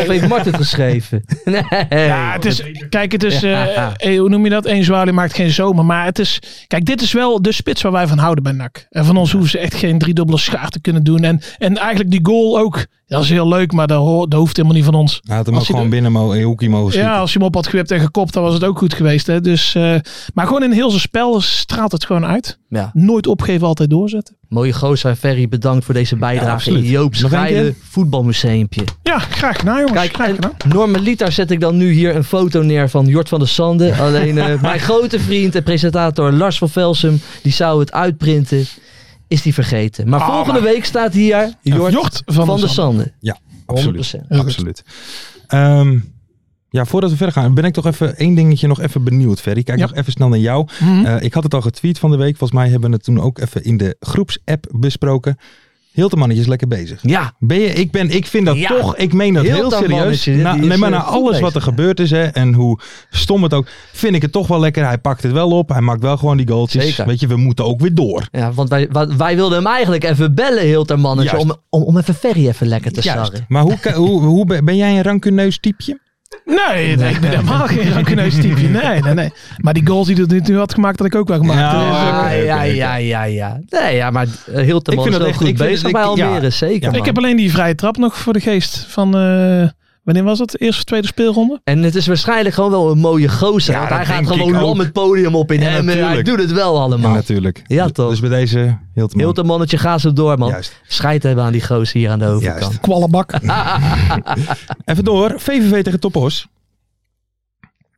Speaker 8: Of heeft Mart het geschreven? Nee.
Speaker 7: ja, het is, kijk, het is, eh,
Speaker 8: Ja.
Speaker 7: eh, hoe noem je dat? Eén zwaluw maakt geen zomer. Maar het is, kijk, dit is wel de spits waar wij van houden bij NAC. En van ons hoeven ze echt geen driedubbele schaar te kunnen doen. En, en eigenlijk die goal ook, dat is heel leuk, maar dat, ho- dat hoeft helemaal niet van ons.
Speaker 6: Hij had hem
Speaker 7: Als
Speaker 6: ook
Speaker 7: je
Speaker 6: Nou, gewoon binnen mo in hoekie mogen schieten.
Speaker 7: Ja, als je hem op had gewipt en gekopt, dan was het ook goed geweest. Hè? Dus, eh, maar gewoon in heel zijn spel straalt het gewoon uit.
Speaker 8: Ja.
Speaker 7: Nooit opgeven, altijd doorzetten.
Speaker 8: Mooie gozer, Ferry, bedankt voor deze bijdrage.
Speaker 6: absoluut.
Speaker 8: in Joop
Speaker 6: Nog eentje?
Speaker 8: Schrijden, voetbalmuseumpje.
Speaker 7: Ja, graag gedaan jongens.
Speaker 8: Kijk,
Speaker 7: graag
Speaker 8: en
Speaker 7: gedaan.
Speaker 8: normaliter zet ik dan nu hier een foto neer van Jort van der Sande. Alleen eh, mijn grote vriend en presentator Lars van Velsum, die zou het uitprinten. Is die vergeten. Ah, Maar volgende week staat hier Jort,
Speaker 7: Jort
Speaker 8: van,
Speaker 7: van, de
Speaker 8: der Sande.
Speaker 6: Absoluut.
Speaker 8: 100%.
Speaker 7: Heel goed.
Speaker 6: Absoluut. Ehm, ja, voordat we verder gaan, ben ik toch even één dingetje nog even benieuwd, Ferry. Kijk
Speaker 7: Ja.
Speaker 6: nog even snel naar jou.
Speaker 7: Mhm.
Speaker 6: Eh, ik had het al getweet van de week. Volgens mij hebben we het toen ook even in de groepsapp besproken. Heel de mannetjes lekker bezig.
Speaker 8: Ja,
Speaker 6: Ben je, ik, ben, ik vind dat
Speaker 8: Ja.
Speaker 6: toch, ik meen dat
Speaker 8: Heel
Speaker 6: heel,
Speaker 8: dat
Speaker 6: serieus.
Speaker 8: mannetje, die
Speaker 6: Na,
Speaker 8: is,
Speaker 6: nee, maar
Speaker 8: eh,
Speaker 6: na
Speaker 8: goed
Speaker 6: alles wat
Speaker 8: bezig,
Speaker 6: er
Speaker 8: ja.
Speaker 6: gebeurd is hè, en hoe stom het ook, vind ik het toch wel lekker. Hij pakt het wel op, hij maakt wel gewoon die goaltjes.
Speaker 8: Zeker.
Speaker 6: Weet je, we moeten ook weer door.
Speaker 8: ja want wij, wa- wij wilden hem eigenlijk even bellen, heel ter mannetje.
Speaker 6: Juist.
Speaker 8: Om, om, om even Ferry even lekker te sarren.
Speaker 6: Maar hoe, ka- hoe, hoe ben ben jij een rancuneus typeje?
Speaker 7: Nee, nee, ik ben helemaal geen rancuneus type. Nee, nee, nee. Maar die goals die hij tot nu toe had gemaakt, had ik ook wel gemaakt.
Speaker 6: Ah, Ja.
Speaker 7: Dus, eh,
Speaker 8: Ja,
Speaker 6: oké,
Speaker 8: ja,
Speaker 6: oké, oké.
Speaker 8: ja, ja, ja. Nee, ja, maar eh, heel te
Speaker 6: Ik
Speaker 8: man
Speaker 6: vind dat
Speaker 8: is wel
Speaker 6: echt-
Speaker 8: goed
Speaker 6: ik vind
Speaker 8: bezig
Speaker 6: dat
Speaker 8: bij
Speaker 6: ik- ja.
Speaker 8: Almere, zeker.
Speaker 6: Ja.
Speaker 8: man.
Speaker 7: ik heb alleen die vrije trap nog voor de geest van eh, Wanneer was dat? De eerste of tweede speelronde?
Speaker 8: En het is waarschijnlijk gewoon wel een mooie gozer.
Speaker 6: Ja,
Speaker 8: want hij
Speaker 6: dat
Speaker 8: gaat
Speaker 6: denk
Speaker 8: gewoon
Speaker 6: ik
Speaker 8: lam
Speaker 6: ook.
Speaker 8: het podium op in
Speaker 6: Ja,
Speaker 8: hem. En hij
Speaker 6: natuurlijk.
Speaker 8: doet het wel
Speaker 6: Ja,
Speaker 8: allemaal.
Speaker 6: natuurlijk.
Speaker 8: Nou. Ja, toch.
Speaker 6: Dus bij deze heel te
Speaker 8: Heel dat mannetje, ga zo door, man.
Speaker 6: Juist.
Speaker 8: Scheid hebben aan die gozer hier aan de overkant.
Speaker 6: Juist.
Speaker 7: Kwallenbak.
Speaker 6: Even door. VVV tegen Topos.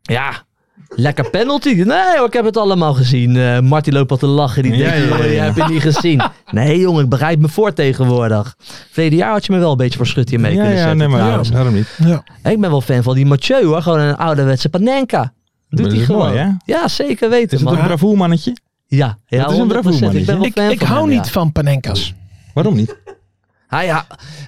Speaker 8: Ja, lekker penalty. Nee hoor, ik heb het allemaal gezien. Eh Marty loopt al te lachen. Die
Speaker 6: Ja,
Speaker 8: denkt,
Speaker 6: ja, ja,
Speaker 8: "Joh, je
Speaker 6: ja.
Speaker 8: hebt het niet gezien. Nee jongen, ik bereid me voor tegenwoordig. Verleden jaar had je me wel een beetje voor schut hier mee
Speaker 6: ja,
Speaker 8: kunnen
Speaker 6: ja,
Speaker 8: zetten. Nou,
Speaker 6: nee, maar ja,
Speaker 8: trouwens.
Speaker 6: daarom niet.
Speaker 7: ja.
Speaker 8: Ik ben wel fan van die Mathieu hoor. Gewoon een ouderwetse panenka. Doet
Speaker 6: Dat
Speaker 8: hij
Speaker 6: is
Speaker 8: gewoon.
Speaker 6: mooi, hè?
Speaker 8: ja, zeker
Speaker 6: Is
Speaker 8: weten
Speaker 6: het
Speaker 8: man.
Speaker 6: een bravoer mannetje?
Speaker 8: Ja, ja
Speaker 6: Dat is een
Speaker 8: 100%.
Speaker 6: bravoer,
Speaker 8: Ik ben wel
Speaker 7: Ik,
Speaker 8: fan
Speaker 7: ik
Speaker 8: van
Speaker 7: hou
Speaker 8: hem,
Speaker 7: niet
Speaker 8: ja.
Speaker 7: van Panenka's.
Speaker 6: Waarom niet?
Speaker 8: Hij,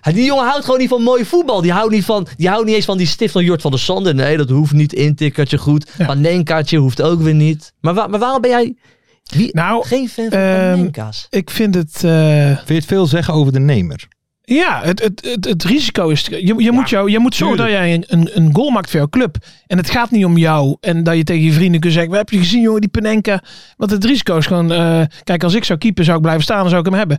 Speaker 8: hij- die jongen houdt gewoon niet van mooi voetbal. Die houdt niet, van, die houdt niet eens van die stift van Jort van der Sander. Nee, dat hoeft niet. Intikkertje goed.
Speaker 7: Ja.
Speaker 8: Panenkaatje hoeft ook weer niet. Maar, wa- maar waarom ben jij wie,
Speaker 7: Nou,
Speaker 8: geen fan van
Speaker 7: ehm,
Speaker 8: Panenka's?
Speaker 7: ik vind het... eh,
Speaker 6: Vind je het veel zeggen over de nemer?
Speaker 7: ja, het, het, het, het risico is... Je, je, moet, jou, je moet zorgen dat
Speaker 6: tuurlijk.
Speaker 7: jij een, een, een goal maakt voor jouw club. En het gaat niet om jou. En dat je tegen je vrienden kunt zeggen... "Wat Heb je gezien jongen, die Panenka? Want het risico is gewoon... eh, kijk, als ik zou keepen zou ik blijven staan. Dan zou ik hem hebben.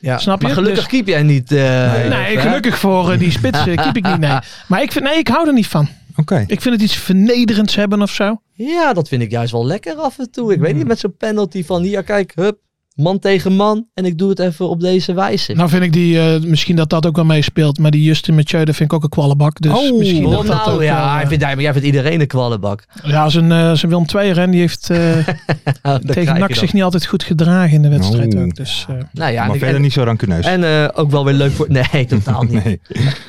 Speaker 8: Ja.
Speaker 7: snap je?
Speaker 8: Maar gelukkig
Speaker 7: Dus-
Speaker 8: keep jij niet. eh,
Speaker 7: nee,
Speaker 8: hè?
Speaker 7: gelukkig voor eh, die spits eh, keep ik niet. Nee. Maar ik, vind, nee, ik hou er niet van.
Speaker 6: Oké.
Speaker 7: Ik vind het iets vernederends hebben of zo.
Speaker 8: Ja, dat vind ik juist wel lekker af en toe. Ik weet niet, met zo'n penalty van hier, kijk, hup, man tegen man. En ik doe het even op deze wijze.
Speaker 7: Nou vind ik die, eh, misschien dat dat ook wel meespeelt. Maar die Justin Mathieu, dat vind ik ook een kwallenbak. Dus
Speaker 6: Oh,
Speaker 7: misschien
Speaker 8: Oh,
Speaker 7: dat dat
Speaker 8: nou,
Speaker 7: ook,
Speaker 8: ja,
Speaker 7: eh,
Speaker 8: hij vindt, hij- maar jij vindt iedereen een kwallenbak.
Speaker 7: ja, zijn, eh, zijn Willem II ren, die heeft eh,
Speaker 8: Nou, dat krijg
Speaker 7: tegen
Speaker 8: je
Speaker 7: NAC
Speaker 8: dan.
Speaker 7: zich niet altijd goed gedragen in de wedstrijd
Speaker 6: Oh.
Speaker 7: ook. Dus, eh,
Speaker 8: Nou ja, en
Speaker 6: maar
Speaker 8: ik-
Speaker 6: verder
Speaker 8: en-
Speaker 6: niet zo rancuneus.
Speaker 8: En eh, ook wel weer leuk voor. Nee, totaal niet.
Speaker 6: nee.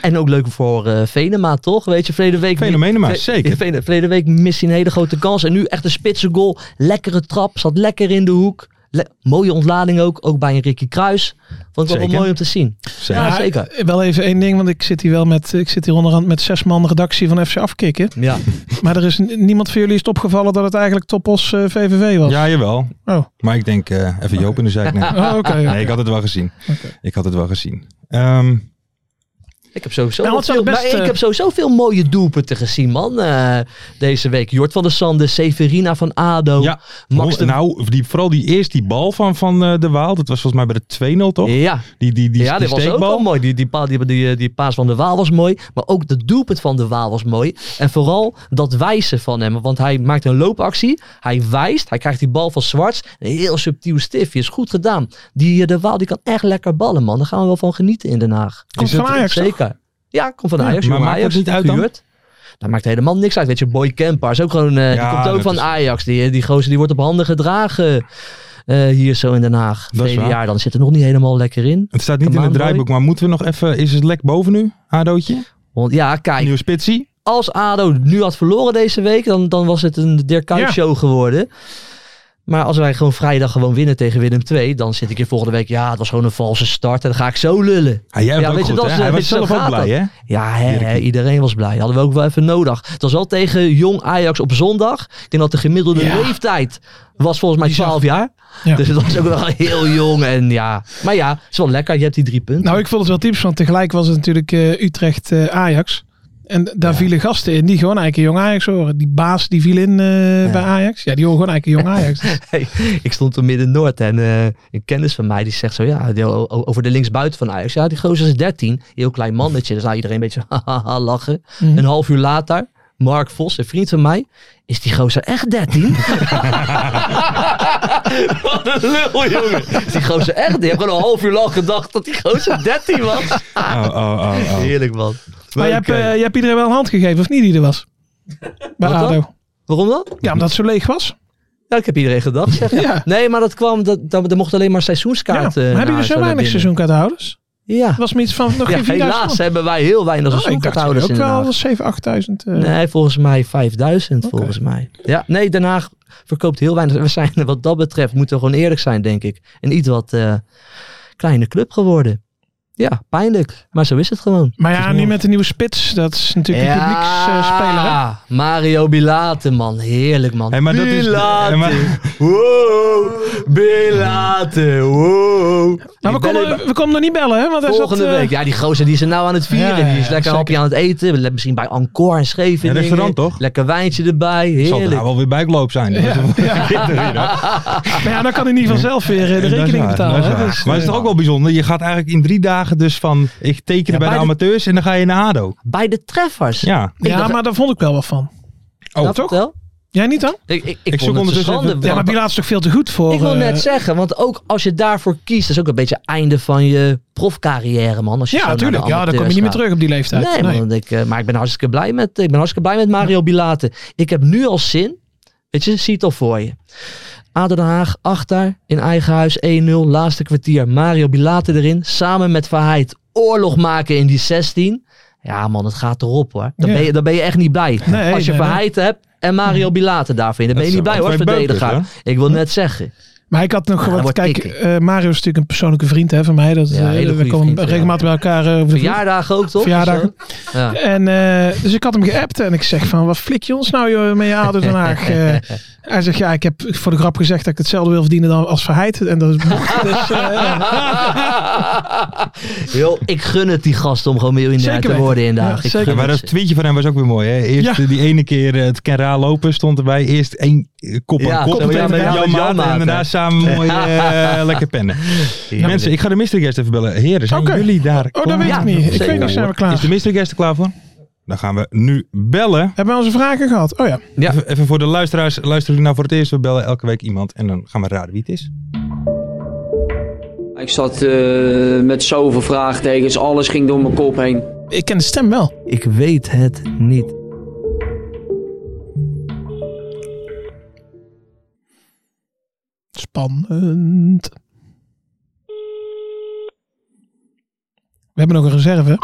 Speaker 8: En ook leuk voor eh, Venema, toch? Weet je, verleden week.
Speaker 6: Fenomenema,
Speaker 8: Ve-
Speaker 6: zeker.
Speaker 8: Vene- Verleden week mist hij een hele grote kans. En nu echt een spitse goal. Lekkere trap. Zat lekker in de hoek. Le- mooie ontlading ook. Ook bij een Ricky Kruis. Vond ik wel, wel
Speaker 6: Zeker.
Speaker 8: mooi om te zien.
Speaker 6: Zeker.
Speaker 8: Ja,
Speaker 7: maar
Speaker 8: zeker.
Speaker 7: eh, Wel even één ding, want ik zit hier wel met, ik zit hier onderhand met zes man redactie van FC Afkikken.
Speaker 8: Ja.
Speaker 7: Maar er is n- niemand van jullie is het opgevallen dat het eigenlijk Topos eh, VVV was.
Speaker 6: Ja, jawel.
Speaker 7: Oh.
Speaker 6: Maar ik denk, eh, even Joop in de zijk. Nee.
Speaker 7: Oh, oké. ja.
Speaker 6: nee, ik had het wel gezien.
Speaker 7: Oké.
Speaker 6: Ik had het wel gezien. Ehm,
Speaker 8: Ik heb sowieso,
Speaker 7: Nou,
Speaker 8: wel
Speaker 7: het zou
Speaker 8: veel,
Speaker 7: best,
Speaker 8: maar ik
Speaker 7: eh,
Speaker 8: heb sowieso veel mooie doelpunten gezien, man. eh, deze week. Jort van der Sande, Severina van Ado.
Speaker 6: ja,
Speaker 8: Max de-
Speaker 6: nou, die, vooral die eerst die bal van, van eh, de Waal. Dat was volgens mij bij de 2-0, toch?
Speaker 8: ja.
Speaker 6: Die, die, die,
Speaker 8: ja,
Speaker 6: die
Speaker 8: die was ook wel
Speaker 6: steekbal.
Speaker 8: mooi. Die, die, pa- die, die, die paas van de Waal was mooi. Maar ook de doelpunt van de Waal was mooi. En vooral dat wijzen van hem. Want hij maakt een loopactie. Hij wijst. Hij krijgt die bal van Zwarts. Een heel subtiel stiftje. Is goed gedaan. Die, eh, de Waal die kan echt lekker ballen, man. Daar gaan we wel van genieten in Den Haag.
Speaker 7: Komt
Speaker 6: Is
Speaker 7: van
Speaker 6: het-
Speaker 7: Ajax, toch?
Speaker 8: Zeker. Ja, komt van
Speaker 6: Ja,
Speaker 8: Ajax.
Speaker 6: maar
Speaker 8: jong
Speaker 6: maakt dat
Speaker 8: Ajax,
Speaker 6: niet uit dan?
Speaker 8: gehuurd. Dat maakt helemaal niks uit. Weet je, Boy Kemper is ook gewoon... eh,
Speaker 6: Ja,
Speaker 8: die komt ook
Speaker 6: dat
Speaker 8: van
Speaker 6: is-
Speaker 8: Ajax. Die, die gozer die wordt op handen gedragen. eh, hier zo in Den Haag.
Speaker 6: Dat is
Speaker 8: Verleden
Speaker 6: waar.
Speaker 8: jaar dan. Zit er nog niet helemaal lekker in.
Speaker 6: Het staat niet
Speaker 8: Come
Speaker 6: in
Speaker 8: on,
Speaker 6: het draaiboek, maar moeten we nog even... Is het lek boven nu, Adootje?
Speaker 8: Want ja, kijk.
Speaker 6: Nieuwe spitsie?
Speaker 8: als ADO nu had verloren deze week, dan, dan was het een Dirk Kuyt
Speaker 7: Ja.
Speaker 8: show geworden. Maar als wij gewoon vrijdag gewoon winnen tegen Willem II, dan zit ik hier volgende week, ja, het was gewoon een valse start en dan ga ik zo lullen.
Speaker 6: Ah, jij hebt
Speaker 8: Ja,
Speaker 6: ook
Speaker 8: weet je,
Speaker 6: goed,
Speaker 8: dat
Speaker 6: hè?
Speaker 8: is, eh,
Speaker 6: Hij
Speaker 8: weet
Speaker 6: was
Speaker 8: je, zo
Speaker 6: zelf ook
Speaker 8: gaat
Speaker 6: blij,
Speaker 8: dat.
Speaker 6: hè?
Speaker 8: Ja, hè,
Speaker 6: Dirkie.
Speaker 8: hè, iedereen was blij. Hadden we ook wel even nodig. Het was al tegen jong Ajax op zondag. Ik denk dat de gemiddelde
Speaker 7: Ja.
Speaker 8: leeftijd was volgens mij
Speaker 7: Die zag-
Speaker 8: 12 jaar.
Speaker 7: Ja.
Speaker 8: Dus het was ook wel heel jong en ja. Maar ja, het is wel lekker. Je hebt die drie punten.
Speaker 7: Nou, ik vond het wel typisch, want tegelijk was het natuurlijk eh, Utrecht eh, Ajax. En d- daar vielen gasten in die gewoon eigenlijk een jong Ajax horen. Die baas die viel in eh, bij Ajax. Ja, die horen gewoon eigenlijk een jong Ajax.
Speaker 8: Hey, ik stond toen midden Noord en eh, een kennis van mij die zegt zo, ja, die- o- o- over de linksbuiten van Ajax. Ja, die gozer is 13, heel klein mannetje. Dus nou iedereen een beetje hahaha lachen.
Speaker 7: Mhm.
Speaker 8: Een half uur later, Mark Vos, een vriend van mij, is die gozer echt 13? Wat een lul, jongen. Is die gozer echt? Die hebben gewoon een half uur lang gedacht dat die gozer 13 was.
Speaker 6: Oh, oh, oh, oh.
Speaker 8: Heerlijk, man.
Speaker 7: Maar je hebt, eh, je hebt iedereen wel een hand gegeven, of niet, die er was? Bij
Speaker 8: Wat dan?
Speaker 7: ADO.
Speaker 8: Waarom dan?
Speaker 7: Ja, omdat het zo leeg was.
Speaker 8: Ja, eh, ik heb iedereen gedacht. Zeg.
Speaker 7: Ja.
Speaker 8: Nee, maar dat kwam, dat, dat, er mocht alleen maar
Speaker 7: Ja.
Speaker 8: seizoenskaarten.
Speaker 7: maar hebben jullie zo weinig seizoenkaarthouders?
Speaker 8: Ja.
Speaker 7: Er was meer iets van nog
Speaker 8: Ja,
Speaker 7: geen 4000
Speaker 8: helaas
Speaker 7: man.
Speaker 8: hebben wij heel weinig
Speaker 7: Oh, ik dacht
Speaker 8: seizoenkaarthouders
Speaker 7: ook
Speaker 8: in Den
Speaker 7: wel
Speaker 8: Haag.
Speaker 7: 7, 8000. eh.
Speaker 8: Nee, volgens mij 5000 volgens mij. Ja, nee, Den Haag verkoopt heel weinig. We zijn wat dat betreft, moeten we gewoon eerlijk zijn, denk ik. Een iets wat eh, kleine club geworden. Ja, pijnlijk. Maar zo is het gewoon.
Speaker 7: Maar ja, nu met de nieuwe spits, dat is natuurlijk een publieksspeler. hè?
Speaker 8: Ja, Mario Bilate, man. Heerlijk, man.
Speaker 6: Hey, maar dat is-
Speaker 8: Bilate.
Speaker 6: eh, maar-
Speaker 8: Wow. Bilate. Wow. Die
Speaker 7: Maar Nou, we
Speaker 8: bellen-
Speaker 7: konden, we konden nog niet bellen, hè? Want hij
Speaker 8: Volgende
Speaker 7: zat, eh,
Speaker 8: week. Ja, die gozer die is er nou aan het vieren.
Speaker 7: Ja, ja,
Speaker 8: die is
Speaker 7: ja,
Speaker 8: lekker een hapje aan het eten. Le- Misschien bij Encore en Scheveningen.
Speaker 6: Ja, restaurant, toch?
Speaker 8: Lekker wijntje erbij.
Speaker 6: Zal er
Speaker 8: Heerlijk.
Speaker 6: nou wel weer bijkloop zijn? Dat is-
Speaker 7: Maar ja, dan kan hij niet vanzelf weer eh, de
Speaker 6: Dat is
Speaker 7: rekening
Speaker 6: waar,
Speaker 7: betalen.
Speaker 6: dat is
Speaker 7: hè?
Speaker 6: waar.
Speaker 7: Dus,
Speaker 6: maar het is
Speaker 7: eh,
Speaker 6: toch ook wel bijzonder. Je gaat eigenlijk in drie dagen dagen dus van ik tekenen bij
Speaker 8: Ja,
Speaker 6: de
Speaker 8: bij de-
Speaker 6: amateurs en dan ga je naar ADO.
Speaker 8: Bij de treffers.
Speaker 6: Ja.
Speaker 8: Ik
Speaker 7: Ja,
Speaker 8: dacht-
Speaker 7: maar daar vond ik wel wat van.
Speaker 8: Dat
Speaker 7: Oh, toch?
Speaker 8: wel?
Speaker 7: Jij niet dan?
Speaker 8: Ik, ik, ik,
Speaker 6: zoek
Speaker 8: vond het een
Speaker 6: ondertussen
Speaker 8: schande.
Speaker 6: even-
Speaker 7: Ja, maar
Speaker 8: want-
Speaker 7: Bilaat is toch veel te goed voor...
Speaker 8: ik wil
Speaker 7: eh,
Speaker 8: net zeggen, want ook als je daarvoor kiest, is ook een beetje einde van je profcarrière, man. Als je zo
Speaker 7: Ja,
Speaker 8: naar de
Speaker 7: natuurlijk. Ja, dan kom je
Speaker 8: amateurs
Speaker 7: niet meer
Speaker 8: gaat.
Speaker 7: terug op die leeftijd.
Speaker 8: Nee,
Speaker 7: Nee.
Speaker 8: Man, ik, eh, maar ik ben hartstikke blij met, ik ben hartstikke blij met Mario Bilate. Ik heb nu al zin. Weet je, zie het al voor je. ADO Den Haag, achter, in eigen huis, 1-0, laatste kwartier. Mario Bilate erin, samen met Verheid. Oorlog maken in die 16. Ja man, het gaat erop hoor. Dan,
Speaker 7: Ja.
Speaker 8: ben, je, dan ben je echt niet blij.
Speaker 7: Nee,
Speaker 8: Als je
Speaker 7: nee,
Speaker 8: Verheid hebt en Mario Bilate daarvoor in, dan ben je
Speaker 6: Dat
Speaker 8: niet blij
Speaker 6: zijn
Speaker 8: hoor,
Speaker 6: wel twee beukers,
Speaker 8: verdediger. Ik wil net zeggen.
Speaker 7: Maar ik had nog
Speaker 8: Ja,
Speaker 7: wat.
Speaker 8: wordt
Speaker 7: Kijk,
Speaker 8: kicken.
Speaker 7: eh, Mario is natuurlijk een persoonlijke vriend hè, van mij. Dat,
Speaker 8: Ja,
Speaker 7: eh,
Speaker 8: hele
Speaker 7: we
Speaker 8: goede
Speaker 7: komen
Speaker 8: vriend, ja.
Speaker 7: regelmatig bij elkaar eh, over de vloer.
Speaker 8: Verjaardagen ook toch?
Speaker 7: Verjaardagen.
Speaker 8: Ja.
Speaker 7: En, eh, dus ik had hem geappt en ik zeg van, wat flik je ons nou joh, met je ADO Den Haag? Eh, hij zegt, ja, ik heb voor de grap gezegd dat ik hetzelfde wil verdienen dan als Verheid. En dat is mocht. Dus, eh, ja.
Speaker 8: Yo, ik gun het die gast om gewoon miljonair
Speaker 7: Zeker
Speaker 8: te
Speaker 7: weten.
Speaker 8: worden in de
Speaker 7: Ja,
Speaker 8: Haag. Ik
Speaker 7: zeker.
Speaker 8: gun
Speaker 6: maar
Speaker 8: het
Speaker 6: dat
Speaker 8: ze.
Speaker 6: tweetje van hem was ook weer mooi. Hè? Eerst
Speaker 7: Ja.
Speaker 6: eh, die ene keer eh, het Kenra lopen stond erbij. Eerst één eh, kop aan
Speaker 8: Ja,
Speaker 6: kop
Speaker 8: kop
Speaker 6: met,
Speaker 8: aan
Speaker 6: met
Speaker 8: kop
Speaker 6: Jan
Speaker 8: met Jan
Speaker 6: Maat en
Speaker 8: Maat,
Speaker 6: daarna
Speaker 8: hè.
Speaker 6: samen mooi eh, lekker pennen. Mensen, ik ga de mystery guest even bellen. Heren, zijn
Speaker 7: Oké.
Speaker 6: jullie daar
Speaker 7: Oh, dat
Speaker 6: klaar
Speaker 7: weet
Speaker 8: Ja,
Speaker 7: ik niet. Ik
Speaker 8: zeker.
Speaker 7: weet niet, zijn we klaar?
Speaker 6: Is de mystery guest er klaar voor? Dan gaan we nu bellen.
Speaker 7: Hebben we onze vragen gehad? Oh ja.
Speaker 6: Ja. Even, even voor de luisteraars. Luisteren jullie nou voor het eerst? We bellen elke week iemand en dan gaan we raden wie het is.
Speaker 10: Ik zat eh, met zoveel vraagtekens, alles ging door mijn kop heen.
Speaker 7: Ik ken de stem wel.
Speaker 8: Ik weet het niet.
Speaker 7: Spannend. We hebben nog een reserve.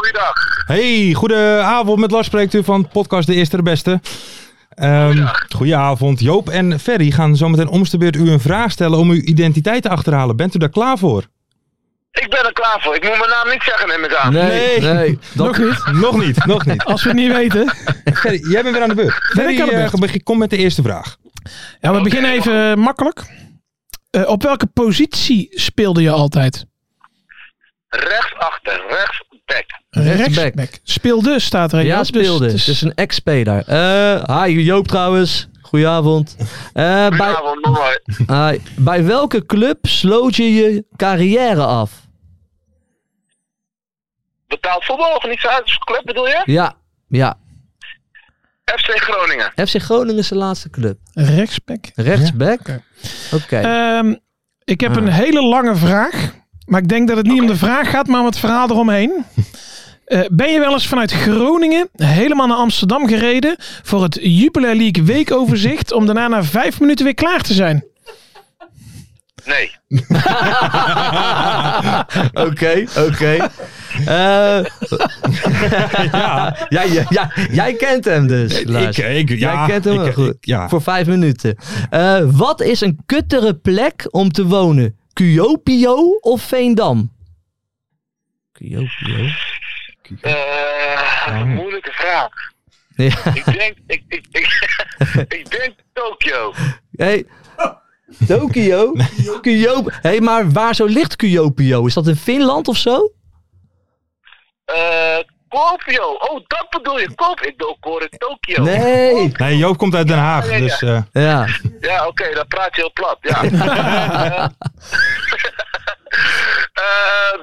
Speaker 6: Hey, goedenavond. Met Lars spreekt u van podcast De Eerste de Beste. Ehm goedenavond. Joop en Ferry gaan zometeen om de beurt u een vraag stellen om uw identiteit te achterhalen. Bent u daar klaar voor?
Speaker 11: Ik ben er klaar voor. Ik moet mijn naam niet zeggen, neem ik aan.
Speaker 8: Nee,
Speaker 6: Nee.
Speaker 8: nee.
Speaker 7: Nog niet.
Speaker 6: Nog niet, nog niet.
Speaker 7: Als we het niet weten.
Speaker 6: Ferry, jij bent weer aan de beurt. Ferry,
Speaker 7: ik aan de
Speaker 6: eh, beg- kom met de eerste vraag.
Speaker 7: Ja, we beginnen even eh, makkelijk. Eh, op welke positie speelde je altijd?
Speaker 11: Rechts achter, rechts back.
Speaker 8: Rechtsback.
Speaker 7: Rechtsback. Speelde staat er even
Speaker 8: Ja,
Speaker 7: op, dus
Speaker 8: speelde.
Speaker 7: het
Speaker 8: Dus,
Speaker 7: is-
Speaker 8: is een ex-speler. Eh, hi, Joop trouwens. Goedenavond. Eh, bij,
Speaker 11: Goedenavond, mama.
Speaker 8: hi. bij welke club sloot je je carrière af?
Speaker 11: Betaald voetbalorganisatieclub bedoel je?
Speaker 8: Ja, ja.
Speaker 11: FC Groningen.
Speaker 8: FC Groningen is de laatste club.
Speaker 7: Rechtsback.
Speaker 8: Rechtsback.
Speaker 7: oké.
Speaker 8: Oké.
Speaker 7: Ehm, ik heb een hele lange vraag. Maar ik denk dat het niet om de vraag gaat, maar om het verhaal eromheen. Eh, ben je wel eens vanuit Groningen helemaal naar Amsterdam gereden voor het Jupiler League weekoverzicht om daarna na vijf minuten weer klaar te zijn?
Speaker 11: Nee.
Speaker 8: Oké, oké. Eh, ja, ja, ja, jij kent hem dus. Lars. jij kent hem
Speaker 6: ik-
Speaker 8: wel
Speaker 6: ik-
Speaker 8: goed.
Speaker 6: ja.
Speaker 8: Voor vijf minuten. Eh, wat is een kuttere plek om te wonen? Cuopio of Veendam? Cuopio?
Speaker 11: Eh, een moeilijke vraag.
Speaker 8: Ja.
Speaker 11: Ik denk, ik, ik, ik, ik denk Tokio.
Speaker 8: Hey. Tokio? Cuopio? hey, maar waar zo ligt Cuopio? Is dat in Finland of zo?
Speaker 11: Eh, Kopio. Oh, dat bedoel je. Kop. Ik doe hoor het Tokio.
Speaker 8: Nee.
Speaker 6: Nee, Joop komt uit Den Haag.
Speaker 11: ja, ja.
Speaker 6: Dus, eh,
Speaker 8: Ja.
Speaker 11: Ja, oké, dan praat je heel plat. Ja. Eh, eh,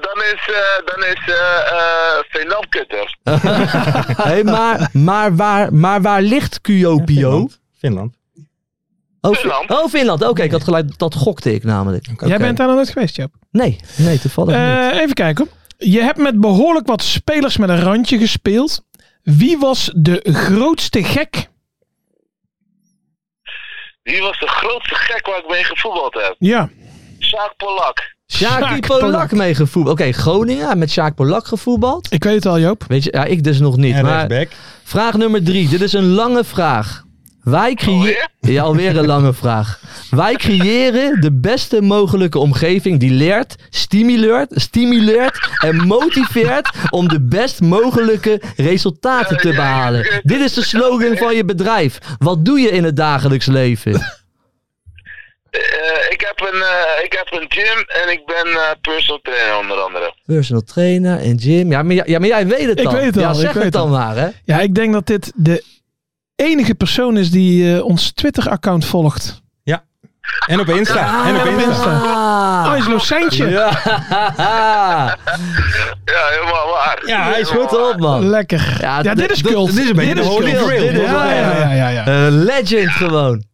Speaker 11: dan is, eh dan is eh eh Veendam kutter.
Speaker 8: Hey, maar, maar, waar, maar waar ligt Cuopio?
Speaker 6: Finland. Finland.
Speaker 8: Oh,
Speaker 11: Finland.
Speaker 8: Fi- Oh, Finland. Oké, ik had gelijk. Dat gokte ik namelijk.
Speaker 7: Jij bent daar nog nooit geweest, Joop.
Speaker 8: Nee, nee, toevallig niet.
Speaker 7: Eh, even kijken. Je hebt met behoorlijk wat spelers met een randje gespeeld. Wie was de grootste gek?
Speaker 11: Wie was de grootste gek waar ik mee gevoetbald heb?
Speaker 7: Ja.
Speaker 11: Sjaak Polak.
Speaker 8: Sjaak
Speaker 7: Sjaak
Speaker 8: Polak
Speaker 7: Polak.
Speaker 8: mee gevoetbald. Oké, Groningen hij met Sjaak Polak gevoetbald.
Speaker 7: Ik weet het al, Joop.
Speaker 8: Weet je, ja, ik dus nog niet.
Speaker 6: En
Speaker 8: Maar
Speaker 6: rechtsback.
Speaker 8: vraag nummer drie. Dit is een lange vraag. Wij creëren... Ja, alweer een lange vraag. Wij creëren de beste mogelijke omgeving die leert, stimuleert, stimuleert en motiveert om de best mogelijke resultaten te behalen. Dit is de slogan van je bedrijf. Wat doe je in het dagelijks leven?
Speaker 11: Eh, ik, heb een, eh, ik heb een gym en ik ben eh, personal trainer onder andere.
Speaker 8: Personal trainer en gym. Ja, maar, ja, ja, maar jij weet het
Speaker 7: Ik
Speaker 8: dan.
Speaker 7: weet het al,
Speaker 8: Ja,
Speaker 7: ik
Speaker 8: zeg
Speaker 7: weet
Speaker 8: het dan
Speaker 7: het.
Speaker 8: maar, hè.
Speaker 7: Ja, ik denk dat dit de enige persoon is die eh, ons Twitter-account volgt.
Speaker 6: En op Insta. en Ah, op Insta.
Speaker 7: Oh, is Lozijntje.
Speaker 8: Ja.
Speaker 11: Ja, helemaal waar.
Speaker 6: Ja, hij is
Speaker 11: Helemaal
Speaker 8: Goed op, man.
Speaker 7: Lekker. Ja, dit is cult.
Speaker 6: Dit is een beetje de holy
Speaker 8: cult.
Speaker 6: grail.
Speaker 8: Dit is-
Speaker 6: Ja,
Speaker 7: Ja, ja, ja, ja, ja.
Speaker 8: Eh, legend gewoon.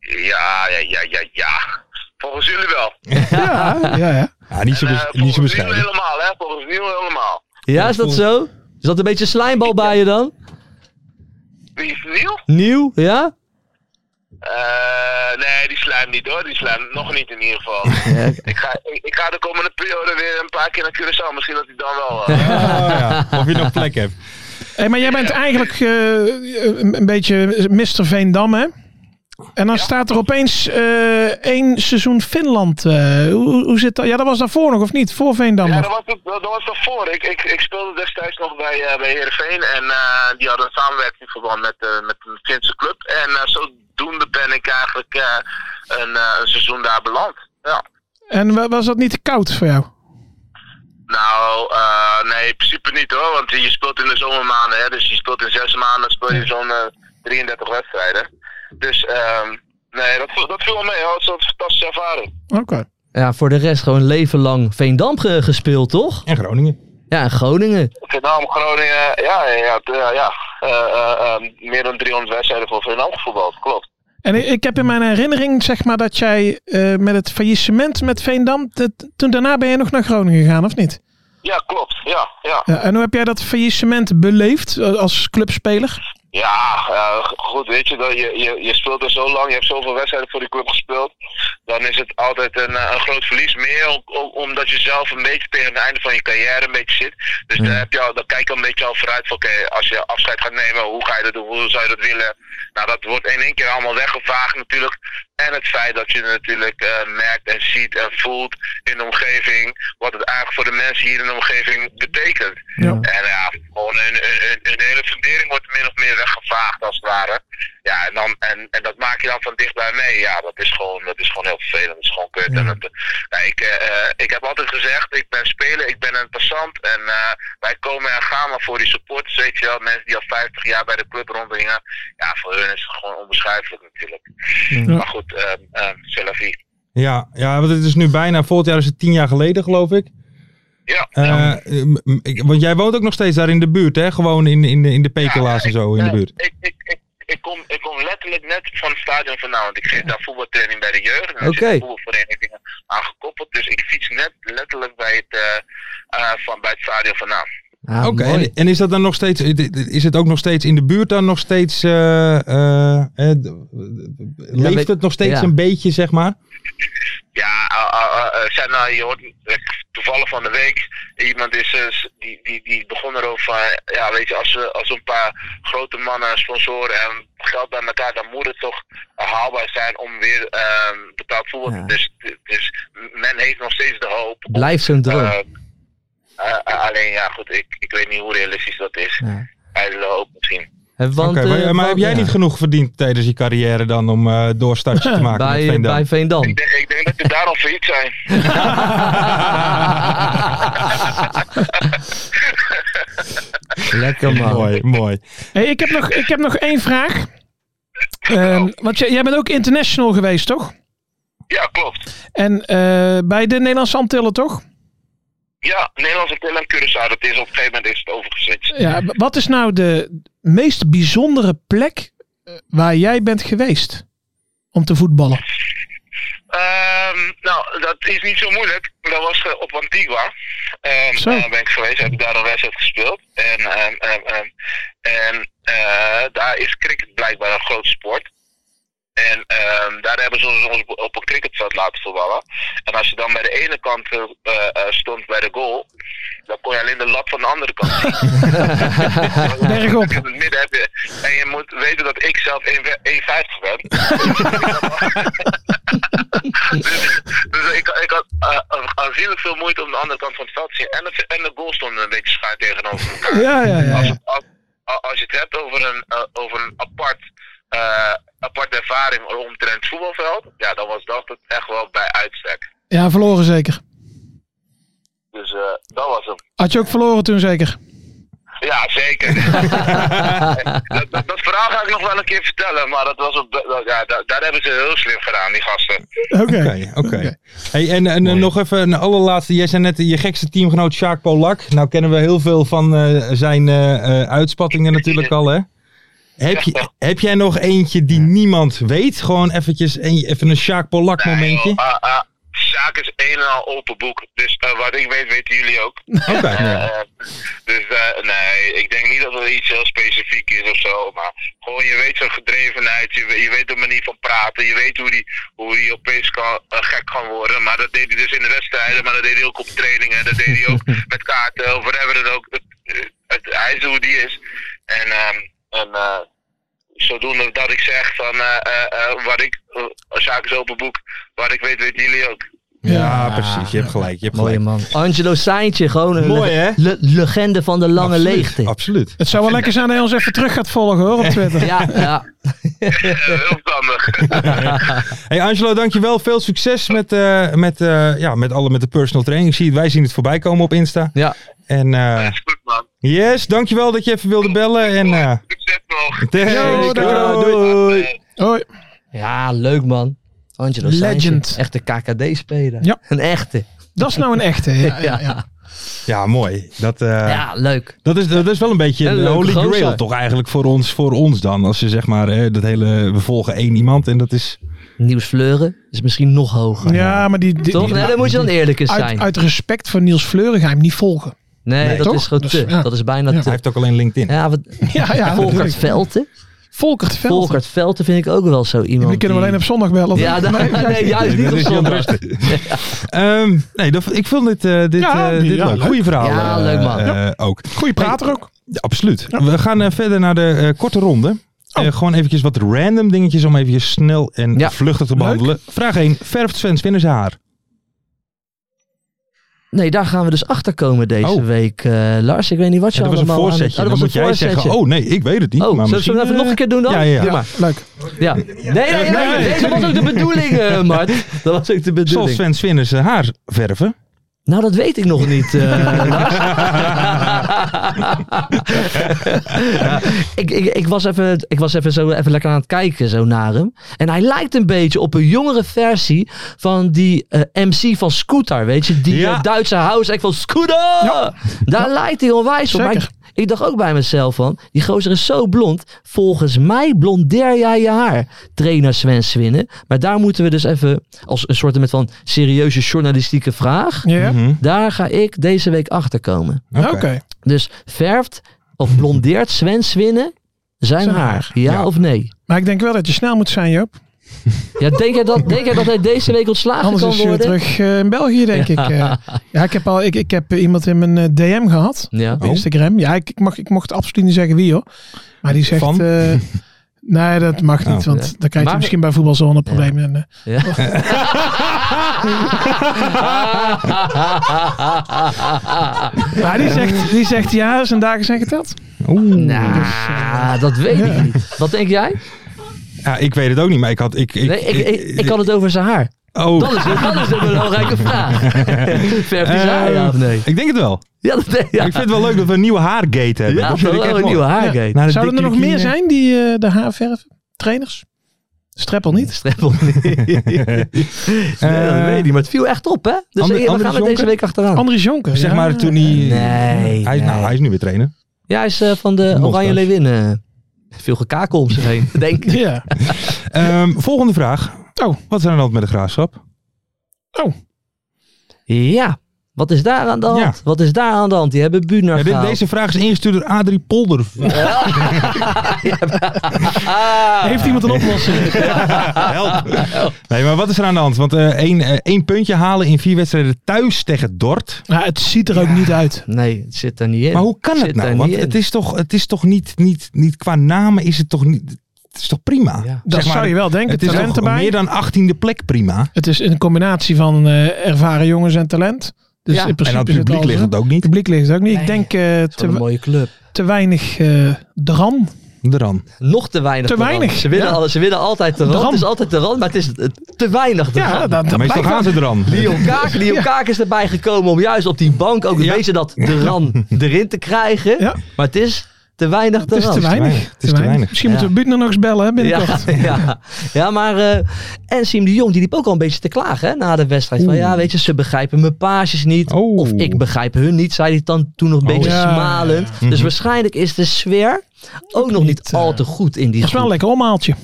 Speaker 11: Ja, ja, ja, ja, ja. Volgens jullie wel.
Speaker 7: Ja, ja, ja.
Speaker 6: Ja, niet zo,
Speaker 11: Eh,
Speaker 6: bes-
Speaker 11: volgens
Speaker 6: niet zo
Speaker 11: Nieuw
Speaker 6: bescheiden.
Speaker 11: helemaal, hè? Volgens Nieuw helemaal.
Speaker 8: Ja, is dat zo? Is dat een beetje slijmbal bij je dan?
Speaker 11: Wie is Nieuw?
Speaker 8: Nieuw, ja?
Speaker 11: Eh, nee, die slijm niet hoor. Die slijm nog niet in ieder geval. ik, ga, ik, ik ga de komende periode weer een paar keer naar Curaçao. Misschien dat hij dan wel. eh,
Speaker 6: Oh, ja. Of je nog plek hebt.
Speaker 7: Hey, maar jij bent eigenlijk eh, een een beetje Mr. Veendam, hè? En dan staat er opeens eh, één seizoen Finland. eh. hoe, hoe zit dat? Ja, dat was daarvoor nog, of niet? Voor Veendam
Speaker 11: Ja,
Speaker 7: nog.
Speaker 11: dat was, het- dat, dat was daarvoor. Ik, ik, ik speelde destijds nog bij, eh, bij Heerenveen. En eh, die hadden een samenwerkingsverband met, eh, met een Finse club. En eh, zodoende ben ik eigenlijk eh, een, eh, een seizoen daar beland. Ja.
Speaker 7: En wa- was dat niet te koud voor jou?
Speaker 11: Nou, eh, nee, in principe niet hoor. Want je speelt in de zomermaanden. Hè, dus je speelt in zes maanden speel je zo'n eh, 33 wedstrijden. Dus ehm, nee, dat, viel- dat viel wel mee hoor. Het was een fantastische ervaring.
Speaker 7: Oké.
Speaker 8: Ja, voor de rest gewoon leven lang Veendam ge- gespeeld, toch?
Speaker 6: En Groningen.
Speaker 8: Ja, en Groningen.
Speaker 11: Vietnam, Groningen, ja, ja, ja. ja, ja. Eh, eh, eh, meer dan 300 wedstrijden voor Vietnam gevoetbald, klopt.
Speaker 7: En ik, ik heb in mijn herinnering, zeg maar, dat jij eh, met het faillissement met Veendam... dat- toen daarna ben je nog naar Groningen gegaan, of niet?
Speaker 11: Ja, klopt. Ja, ja.
Speaker 7: Ja, en hoe heb jij dat faillissement beleefd eh, als clubspeler?
Speaker 11: Ja, eh, goed, weet je, dat je, je, je speelt er zo lang, je hebt zoveel wedstrijden voor die club gespeeld. Dan is het altijd een, eh, een groot verlies. Meer om- om- omdat je zelf een beetje tegen het einde van je carrière een beetje zit. Dus daar, heb je al, daar kijk je al een beetje al vooruit van, oké, als je afscheid gaat nemen, hoe ga je dat doen, hoe zou je dat willen? Nou, dat wordt in één keer allemaal weggevaagd natuurlijk. En het feit dat je natuurlijk eh, merkt en ziet en voelt in de omgeving, wat het eigenlijk voor de mensen hier in de omgeving betekent.
Speaker 7: Ja.
Speaker 11: En ja, gewoon een, een, een- een hele fundering wordt min of meer weggevaagd als het ware. Ja, en, dan, en, en dat maak je dan van dichtbij mee. Ja, dat is gewoon, dat is gewoon heel vervelend. Dat is gewoon kut. En dat, nou, ik, eh, eh, ik heb altijd gezegd, ik ben speler, ik ben een passant. En eh, wij komen en gaan, maar voor die supporters, weet je wel, mensen die al 50 jaar bij de club rondhingen. Ja, voor hun is het gewoon onbeschrijfelijk natuurlijk. Maar goed, ehm ehm, c'est la vie.
Speaker 6: Ja, ja, want het is nu bijna, volgend jaar is het tien jaar geleden, geloof ik.
Speaker 11: Ja,
Speaker 6: Eh, m- m- ik- want jij woont ook nog steeds daar in de buurt, hè? Gewoon in, in, de- in de Pekelaars en zo in de
Speaker 11: Ja,
Speaker 6: buurt.
Speaker 11: Ik, ik, ik, ik, kom, ik kom letterlijk net van het stadion vandaan, want ik geef daar voetbaltraining bij de jeugd. En er
Speaker 8: Oké.
Speaker 11: zitten voetbalverenigingen aangekoppeld, dus ik fiets net letterlijk bij het, eh, eh, van, bij het stadion vandaan.
Speaker 8: Ah,
Speaker 6: Oké,
Speaker 8: mooi.
Speaker 6: en, en is dat dan nog steeds, is het ook nog steeds in de buurt dan nog steeds, eh, eh, eh, d-
Speaker 8: weet-
Speaker 6: leeft het nog steeds
Speaker 8: ja.
Speaker 6: een beetje, zeg maar?
Speaker 11: Ja, eh, eh, eh, eh, zijn, nou, je hoort eh, toevallig van de week, iemand is, eh, s- die, die, die begon erover van, eh, ja weet je, als we, als we een paar grote mannen, sponsoren en geld bij elkaar, dan moet het toch eh, haalbaar zijn om weer eh, betaald voetbal.
Speaker 8: Ja.
Speaker 11: Dus, dus men heeft nog steeds de hoop om
Speaker 8: Blijft zo'n droom.
Speaker 11: Eh, eh, eh, alleen ja, goed, ik, ik weet niet hoe realistisch dat is.
Speaker 8: Ja.
Speaker 11: Ijdele hoop misschien.
Speaker 8: En
Speaker 6: Oké,
Speaker 8: want,
Speaker 6: maar,
Speaker 8: eh,
Speaker 6: maar
Speaker 8: want-
Speaker 6: heb jij
Speaker 8: ja.
Speaker 6: niet genoeg verdiend tijdens je carrière dan om eh doorstartjes te maken met
Speaker 8: bij,
Speaker 6: Veendam?
Speaker 8: bij Veendam?
Speaker 11: Ik denk, ik denk dat we daarom failliet zijn.
Speaker 8: Lekker man.
Speaker 6: Mooi, mooi.
Speaker 7: Hey, ik, heb nog, ik heb nog één vraag. Ehm, want jij, jij bent ook international geweest, toch?
Speaker 11: Ja, klopt.
Speaker 7: En eh, bij de Nederlandse Antillen, toch?
Speaker 11: Ja, Nederlandse Antillen en Curaçao, dat is op een gegeven moment is het overgezet.
Speaker 7: Ja, w- wat is nou de meest bijzondere plek eh, waar jij bent geweest om te voetballen?
Speaker 11: Ehm, nou, dat is niet zo moeilijk. Dat was eh, op Antigua. Ehm
Speaker 7: Zo.
Speaker 11: eh, ben ik geweest, heb ik daar een wedstrijd gespeeld. En, ehm, ehm, ehm, en eh, daar is cricket blijkbaar een groot sport. En ehm, daar hebben ze ons ons op een cricketveld laten voetballen. En als je dan bij de ene kant eh, eh, stond bij de goal, dan kon je alleen de lat van de andere kant zien.
Speaker 7: Bergop.
Speaker 11: In het midden heb je, en je moet weten dat ik zelf 1,50 ben. dus dus ik, ik had eh, aanzienlijk veel moeite om de andere kant van het veld te zien. En, het, en de goal stond een beetje schuin tegenover elkaar.
Speaker 7: Ja, ja, ja.
Speaker 11: Als,
Speaker 7: ja.
Speaker 11: het- als, als je het hebt over een, eh, over een apart, eh, aparte ervaring omtrent het voetbalveld, ja, dan was dat het echt wel bij uitstek.
Speaker 7: Ja, verloren zeker.
Speaker 11: Dus eh, dat was hem.
Speaker 7: Had je ook verloren toen zeker?
Speaker 11: Ja, zeker. dat, dat, dat verhaal ga ik nog wel een keer vertellen, maar dat was op, dat- ja, daar, daar hebben ze heel slim gedaan, die gasten.
Speaker 6: Oké, oké. Hey, en en nog even een allerlaatste. Jij zei net je gekste teamgenoot Sjaak Polak. Nou kennen we heel veel van eh, zijn eh, eh, uitspattingen natuurlijk al, hè? Heb, je, heb jij nog eentje die niemand weet? Gewoon eventjes een, even een Sjaak Polak momentje.
Speaker 11: Nee, joh, ah, ah, zaak is een en al open boek. Dus eh, wat ik weet, weten jullie ook.
Speaker 6: Oké,
Speaker 11: Eh,
Speaker 6: ja.
Speaker 11: dus eh, nee, ik denk niet dat er iets heel specifiek is of zo. Maar gewoon, je weet zijn gedrevenheid. Je, we- je weet de manier van praten. Je weet hoe die, hoe die opeens kan, eh, gek kan worden. Maar dat deed hij dus in de wedstrijden. Maar dat deed hij ook op trainingen. Dat deed hij ook met kaarten of whatever dan ook. Het, het- hij is hoe die is. En, ehm, en eh, zodoende dat ik zeg van eh, eh, eh, wat ik, uh, zaak is open boek, wat ik weet weten jullie ook.
Speaker 6: Ja, precies. Je hebt gelijk. Je hebt
Speaker 8: Mooie
Speaker 6: gelijk.
Speaker 8: man. Angelo Seintje, gewoon een
Speaker 6: Mooi,
Speaker 8: le-
Speaker 6: hè?
Speaker 8: le- legende van de lange
Speaker 6: Absoluut,
Speaker 8: leegte.
Speaker 6: Absoluut.
Speaker 7: Het zou wel lekker zijn dat hij ons even terug gaat volgen hoor op Twitter.
Speaker 8: Ja, ja.
Speaker 11: Eh, Heel verstandig.
Speaker 6: Hey Angelo, dankjewel. Veel succes met, eh, met, eh, ja, met, alle, met de personal training. Ik zie het, wij zien het voorbij komen op Insta.
Speaker 8: ja.
Speaker 6: En eh,
Speaker 11: Is goed man.
Speaker 6: yes, dankjewel dat je even wilde bellen. En, eh,
Speaker 11: Succes nog.
Speaker 6: thanks.
Speaker 7: Yo, dankjewel.
Speaker 6: eh, Doei.
Speaker 11: eh.
Speaker 7: Hoi.
Speaker 8: Ja, leuk man. Angelo
Speaker 7: Legend.
Speaker 8: Legend. Echte KKD-speler.
Speaker 7: Ja.
Speaker 8: Een echte.
Speaker 7: Dat is nou een echte. Ja, ja, ja.
Speaker 6: Ja, mooi. Dat, eh,
Speaker 8: Ja, leuk.
Speaker 6: dat, is, dat is wel een beetje
Speaker 8: Een
Speaker 6: de
Speaker 8: leuke
Speaker 6: holy
Speaker 8: gozer.
Speaker 6: grail toch eigenlijk voor ons, voor ons dan. Als je zeg maar, eh, dat hele, we volgen één iemand en dat is...
Speaker 8: Niels Fleuren is misschien nog hoger.
Speaker 7: Ja, maar die, die-
Speaker 8: Toch?
Speaker 7: die-
Speaker 8: Nee, dan moet je dan eerlijk eens
Speaker 7: uit,
Speaker 8: zijn.
Speaker 7: uit respect voor Niels Fleuren ga je hem niet volgen.
Speaker 8: nee,
Speaker 7: nee,
Speaker 8: dat
Speaker 7: toch?
Speaker 8: is gewoon
Speaker 7: Dus,
Speaker 8: te.
Speaker 7: ja.
Speaker 8: Dat is bijna
Speaker 7: Ja.
Speaker 8: te.
Speaker 6: Hij heeft ook alleen LinkedIn.
Speaker 8: Ja, wat,
Speaker 7: Ja, ja.
Speaker 8: Volkert
Speaker 7: natuurlijk.
Speaker 8: Velten.
Speaker 7: Volkert Veld.
Speaker 8: Volkert Velten vind ik ook wel zo iemand.
Speaker 7: Die kunnen we alleen op zondag bellen.
Speaker 8: Ja,
Speaker 7: toch?
Speaker 8: da-
Speaker 7: Nee,
Speaker 8: nee,
Speaker 7: juist niet.
Speaker 8: juist niet
Speaker 6: dat
Speaker 8: op
Speaker 6: is Jan
Speaker 8: zondag.
Speaker 6: Ehm, nee, dat, ik vond dit, eh, dit,
Speaker 7: Ja,
Speaker 6: eh,
Speaker 7: die-
Speaker 6: dit
Speaker 7: ja,
Speaker 6: leuk.
Speaker 7: leuk.
Speaker 6: Goeie verhaal.
Speaker 8: Ja,
Speaker 6: eh,
Speaker 8: leuk, man.
Speaker 6: eh, ook.
Speaker 7: Goeie prater ook.
Speaker 6: Ja, absoluut. We gaan eh, verder naar de eh, korte ronde.
Speaker 7: Oh.
Speaker 6: Eh, gewoon eventjes wat random dingetjes om eventjes snel en
Speaker 8: Ja.
Speaker 6: vluchtig te behandelen. Vraag 1. Verft Sven Spinners haar?
Speaker 8: Nee, daar gaan we dus achter komen deze
Speaker 6: Oh.
Speaker 8: week. eh, Lars, ik weet niet wat je
Speaker 6: Ja, dat was een
Speaker 8: allemaal aan het-
Speaker 6: voorzetje.
Speaker 8: Oh,
Speaker 6: Dan
Speaker 8: dat
Speaker 6: moet
Speaker 8: was een
Speaker 6: jij
Speaker 8: voorzetje.
Speaker 6: zeggen, oh nee, ik weet het niet.
Speaker 8: Oh,
Speaker 6: maar
Speaker 8: zullen we
Speaker 6: misschien,
Speaker 8: hem even
Speaker 6: eh,
Speaker 8: nog een keer doen dan?
Speaker 6: Ja, ja.
Speaker 8: Doe maar.
Speaker 7: Leuk.
Speaker 8: Ja. Nee, nee, nee,
Speaker 6: nee,
Speaker 8: Deze was ook de bedoeling, eh, Mart. Dat was ook de
Speaker 6: Zal
Speaker 8: bedoeling.
Speaker 6: Sven Spinners zijn haar verven?
Speaker 8: Nou, dat weet ik nog niet. eh, Lars. Ja, ik, ik, ik, was even, ik was even zo even lekker aan het kijken zo naar hem. En hij lijkt een beetje op een jongere versie van die eh, MC van Scooter. Weet je, die
Speaker 6: Ja.
Speaker 8: eh, Duitse house act van Scooter. Daar lijkt hij onwijs op. Maar
Speaker 7: Zeker.
Speaker 8: Ik, ik dacht ook bij mezelf van, die gozer is zo blond. Volgens mij blondeer jij je haar, trainer Sven Swinnen. Maar daar moeten we dus even als een soort met van serieuze journalistieke vraag.
Speaker 7: Ja.
Speaker 6: Mhm.
Speaker 8: Daar ga ik deze week achter komen.
Speaker 7: Mm, Oké.
Speaker 8: Dus verft of blondeert Sven Swinnen zijn
Speaker 7: Zijn
Speaker 8: haar?
Speaker 7: haar.
Speaker 8: Ja,
Speaker 6: Ja.
Speaker 8: of nee?
Speaker 7: Maar ik denk wel dat je snel moet zijn, Joop.
Speaker 8: Ja, denk jij dat, denk jij dat hij deze week ontslagen
Speaker 7: Anders
Speaker 8: kan
Speaker 7: is je
Speaker 8: worden?
Speaker 7: terug eh, in België, denk ik. eh. ja, ik heb, al, ik, ik heb iemand in mijn eh, DM gehad.
Speaker 8: Ja.
Speaker 6: Oh.
Speaker 7: Op Instagram. Ja, ik, ik, mag, ik mocht absoluut niet zeggen wie hoor. Maar die zegt...
Speaker 6: Van?
Speaker 7: eh, nee, dat mag niet.
Speaker 6: Oh.
Speaker 7: Want
Speaker 8: Ja.
Speaker 7: dan krijg je
Speaker 8: Maar-
Speaker 7: misschien bij voetbalzone problemen. En, eh,
Speaker 8: Ja.
Speaker 7: maar die zegt, die zegt ja, zijn dagen zijn geteld.
Speaker 6: Oeh.
Speaker 8: Nou, dat weet ik niet. Wat denk jij?
Speaker 6: Ja, ik weet het ook niet, maar ik had... Ik, ik,
Speaker 8: Nee, ik, ik, ik had het over zijn haar.
Speaker 6: Oh,
Speaker 8: Dat is, dat is een belangrijke vraag. Verft hij zijn haar, ja of nee?
Speaker 6: ik denk het wel.
Speaker 8: Ja, dat denk ja.
Speaker 6: Eh, Ik vind het wel leuk dat we een nieuwe haargate hebben.
Speaker 8: Ja,
Speaker 6: dat
Speaker 8: dat
Speaker 6: vind ik echt
Speaker 8: een
Speaker 6: mooi.
Speaker 8: nieuwe haargate.
Speaker 6: Nou, de
Speaker 7: Zouden er
Speaker 6: dikke
Speaker 7: nog meer
Speaker 6: bikini.
Speaker 7: zijn die eh, de haarverven? Trainers? Streppel niet?
Speaker 8: Streppel niet. nee, dat
Speaker 6: Eh,
Speaker 8: weet ik niet, maar het viel echt op, hè? Dus
Speaker 6: Ander-
Speaker 8: eh, we
Speaker 6: Andries
Speaker 8: gaan er
Speaker 6: Jonker?
Speaker 8: deze week achteraan.
Speaker 7: Andries Jonker.
Speaker 6: Oh. Zeg
Speaker 7: ja.
Speaker 6: maar toen hij...
Speaker 8: Nee,
Speaker 6: Hij, is- nou,
Speaker 8: nee.
Speaker 6: hij is nu weer trainer.
Speaker 8: Ja, hij is eh, van de
Speaker 6: Monsters.
Speaker 8: Oranje Leeuwin. eh, veel gekakel om zich heen, denk ik.
Speaker 7: Ja.
Speaker 6: Ehm, volgende vraag.
Speaker 7: Oh.
Speaker 6: Wat is er aan de hand met de graafschap?
Speaker 8: Ja, wat is daar aan de hand?
Speaker 6: Ja.
Speaker 8: Wat is daar aan de hand? Die hebben Bunar
Speaker 6: Ja, dit-
Speaker 8: gehaald.
Speaker 6: deze vraag is ingestuurd door Adrie Polder.
Speaker 8: Ah,
Speaker 7: Heeft iemand een oplossing?
Speaker 6: Help. Nee, maar wat is er aan de hand? Want eh, één, eh, één puntje halen in vier wedstrijden thuis tegen Dort.
Speaker 7: Ja, Nou, het ziet er ook niet uit.
Speaker 8: Nee, het zit er niet in.
Speaker 6: Maar hoe kan
Speaker 8: Zit
Speaker 6: het nou?
Speaker 8: daar
Speaker 6: Want
Speaker 8: niet
Speaker 6: het
Speaker 8: in.
Speaker 6: is toch, het is toch niet, niet, niet... Qua namen is het toch niet... Het is toch prima?
Speaker 8: Ja.
Speaker 6: Zeg
Speaker 7: Dat zou je wel denken.
Speaker 6: Het is
Speaker 7: talent
Speaker 6: toch
Speaker 7: erbij.
Speaker 6: meer dan 18e plek prima.
Speaker 7: Het is een combinatie van eh, ervaren jongens en talent. Dus
Speaker 8: Ja.
Speaker 7: in principe
Speaker 6: en aan het
Speaker 7: is het
Speaker 6: publiek
Speaker 7: al
Speaker 6: ligt
Speaker 7: zo.
Speaker 6: het ook niet.
Speaker 7: publiek ligt het ook niet.
Speaker 8: Nee,
Speaker 7: ik denk eh,
Speaker 8: Wat een
Speaker 7: te,
Speaker 8: mooie club.
Speaker 7: te weinig eh dram.
Speaker 6: De ran.
Speaker 8: Nog te weinig.
Speaker 7: Te
Speaker 8: de Ran.
Speaker 7: weinig,
Speaker 8: Ze winnen,
Speaker 7: ja.
Speaker 8: al- ze winnen altijd de
Speaker 7: De
Speaker 8: ran.
Speaker 7: Ran.
Speaker 8: Het is altijd de ran, maar het is eh, te weinig de
Speaker 7: Ja,
Speaker 8: Ran.
Speaker 7: dat, dat
Speaker 6: Meestal
Speaker 7: blijkt
Speaker 6: gaan
Speaker 7: wel.
Speaker 6: ze er dan.
Speaker 8: Leon Kaak, Leon
Speaker 7: Ja.
Speaker 8: Kaak is erbij gekomen om juist op die bank ook een
Speaker 6: Ja.
Speaker 8: beetje dat de ran erin te krijgen.
Speaker 7: Ja.
Speaker 8: Maar het is te weinig de
Speaker 7: Het is
Speaker 8: ran.
Speaker 7: te weinig.
Speaker 6: weinig. Het is te weinig.
Speaker 7: Misschien
Speaker 8: Ja.
Speaker 7: moeten we Buutner nog eens bellen hè, binnenkort.
Speaker 8: Ja, ja. ja, maar eh, en Siem de Jong die liep ook al een beetje te klagen hè, na de wedstrijd. Van
Speaker 6: Oeh.
Speaker 8: ja, weet je, ze begrijpen mijn paasjes niet.
Speaker 6: Oh.
Speaker 8: Of ik begrijp hun niet, zei hij dan toen nog een
Speaker 6: Oh.
Speaker 8: beetje
Speaker 7: Ja,
Speaker 8: smalend.
Speaker 7: ja,
Speaker 8: Dus
Speaker 6: Mhm.
Speaker 8: waarschijnlijk is de sfeer ook nog niet
Speaker 7: niet,
Speaker 8: al
Speaker 7: eh,
Speaker 8: te goed in die
Speaker 7: Dat is wel
Speaker 8: groep.
Speaker 7: een lekker omhaaltje.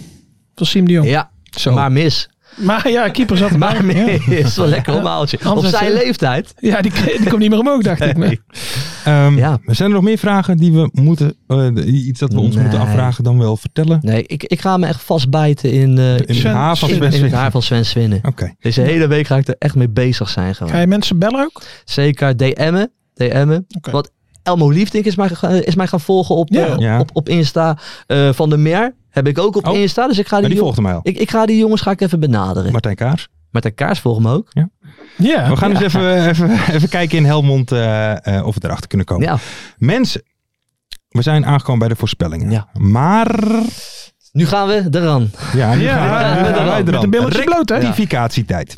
Speaker 7: Van Siem de Jong.
Speaker 8: Ja,
Speaker 6: Zo.
Speaker 8: maar mis.
Speaker 7: Maar ja, keeper zat erbij.
Speaker 8: Maar mis.
Speaker 7: Ja.
Speaker 8: Wel lekker omhaaltje. Op
Speaker 7: Anders
Speaker 8: zijn
Speaker 7: is-
Speaker 8: leeftijd.
Speaker 7: Ja, die, die komt niet meer omhoog, dacht ik. Maar-
Speaker 6: Ehm,
Speaker 8: Ja.
Speaker 6: Zijn er nog meer vragen die we moeten, eh, iets dat we ons
Speaker 8: Nee.
Speaker 6: moeten afvragen dan wel vertellen?
Speaker 8: Nee, ik, ik ga me echt vastbijten in, eh,
Speaker 6: In het
Speaker 7: Sven-
Speaker 6: haar van
Speaker 8: in-
Speaker 6: Sven
Speaker 8: in het
Speaker 6: Swift.
Speaker 8: haar van Sven Swinnen.
Speaker 6: Oké.
Speaker 8: Deze hele week ga ik er echt mee bezig zijn gewoon.
Speaker 7: Ga je mensen bellen ook?
Speaker 8: Zeker DM'en. DM'en.
Speaker 7: Oké.
Speaker 8: Wat Elmo Liefdink is mij, ge- is mij gaan volgen op,
Speaker 7: Ja.
Speaker 8: eh, op-
Speaker 6: Ja.
Speaker 8: op, op Insta. Eh, van der Meer heb ik ook op
Speaker 6: Oh.
Speaker 8: Insta. Dus ik ga die,
Speaker 6: Maar die
Speaker 8: jong-
Speaker 6: volgt hem al.
Speaker 8: ik, ik ga die jongens ga ik even benaderen. Maar,
Speaker 6: Martijn Kaars.
Speaker 8: de kaars volgt me ook.
Speaker 7: Ja.
Speaker 6: We gaan dus even, even, even kijken in Helmond eh, eh, of we erachter kunnen komen.
Speaker 8: Ja.
Speaker 6: Mensen, we zijn aangekomen bij de voorspellingen.
Speaker 8: Ja.
Speaker 6: Maar,
Speaker 8: Nu gaan we eraan.
Speaker 6: ja, nu
Speaker 7: Ja,
Speaker 6: gaan we-
Speaker 8: met de-
Speaker 6: gaan wij
Speaker 8: met
Speaker 6: er
Speaker 7: de
Speaker 6: dan.
Speaker 7: billetjes bloot, hè?
Speaker 6: Rectificatietijd.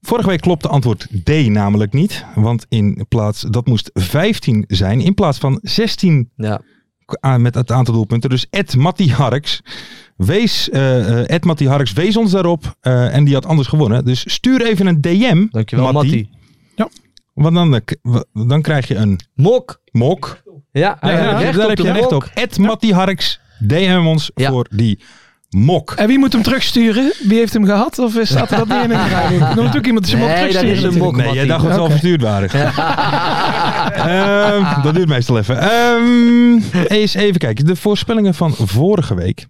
Speaker 6: Vorige week klopte antwoord D namelijk niet. Want in plaats, dat moest 15 zijn in plaats van 16
Speaker 8: Ja.
Speaker 6: aan- eh, met het aantal doelpunten. Dus Ed Matty Harks. Wees, eh, eh, Ed Matty Harks wees ons daarop. eh, en die had anders gewonnen. Dus stuur even een DM.
Speaker 8: Dankjewel,
Speaker 6: Matty.
Speaker 8: Matty.
Speaker 6: Want dan, eh, k- w- dan krijg je een
Speaker 8: Mok.
Speaker 6: mok.
Speaker 8: Ja, hij
Speaker 6: Ja, daar
Speaker 8: heeft
Speaker 6: heb
Speaker 8: recht
Speaker 6: je- daar heb
Speaker 8: op de
Speaker 6: je recht
Speaker 8: mok.
Speaker 6: op. Ed Matty Harks, DM ons
Speaker 8: Ja.
Speaker 6: voor die mok.
Speaker 7: En wie moet hem terugsturen? Wie heeft hem gehad? Of staat er dat niet in een rijboek? Dan moet natuurlijk iemand zijn mok
Speaker 8: Nee, dat is
Speaker 7: terugsturen.
Speaker 8: een mok.
Speaker 7: natuurlijk.
Speaker 6: Nee, jij dacht
Speaker 8: Matty.
Speaker 6: dat ze al
Speaker 7: Oké.
Speaker 6: verstuurd waren. Ehm, dat duurt meestal even. Ehm, eens even kijken. De voorspellingen van vorige week.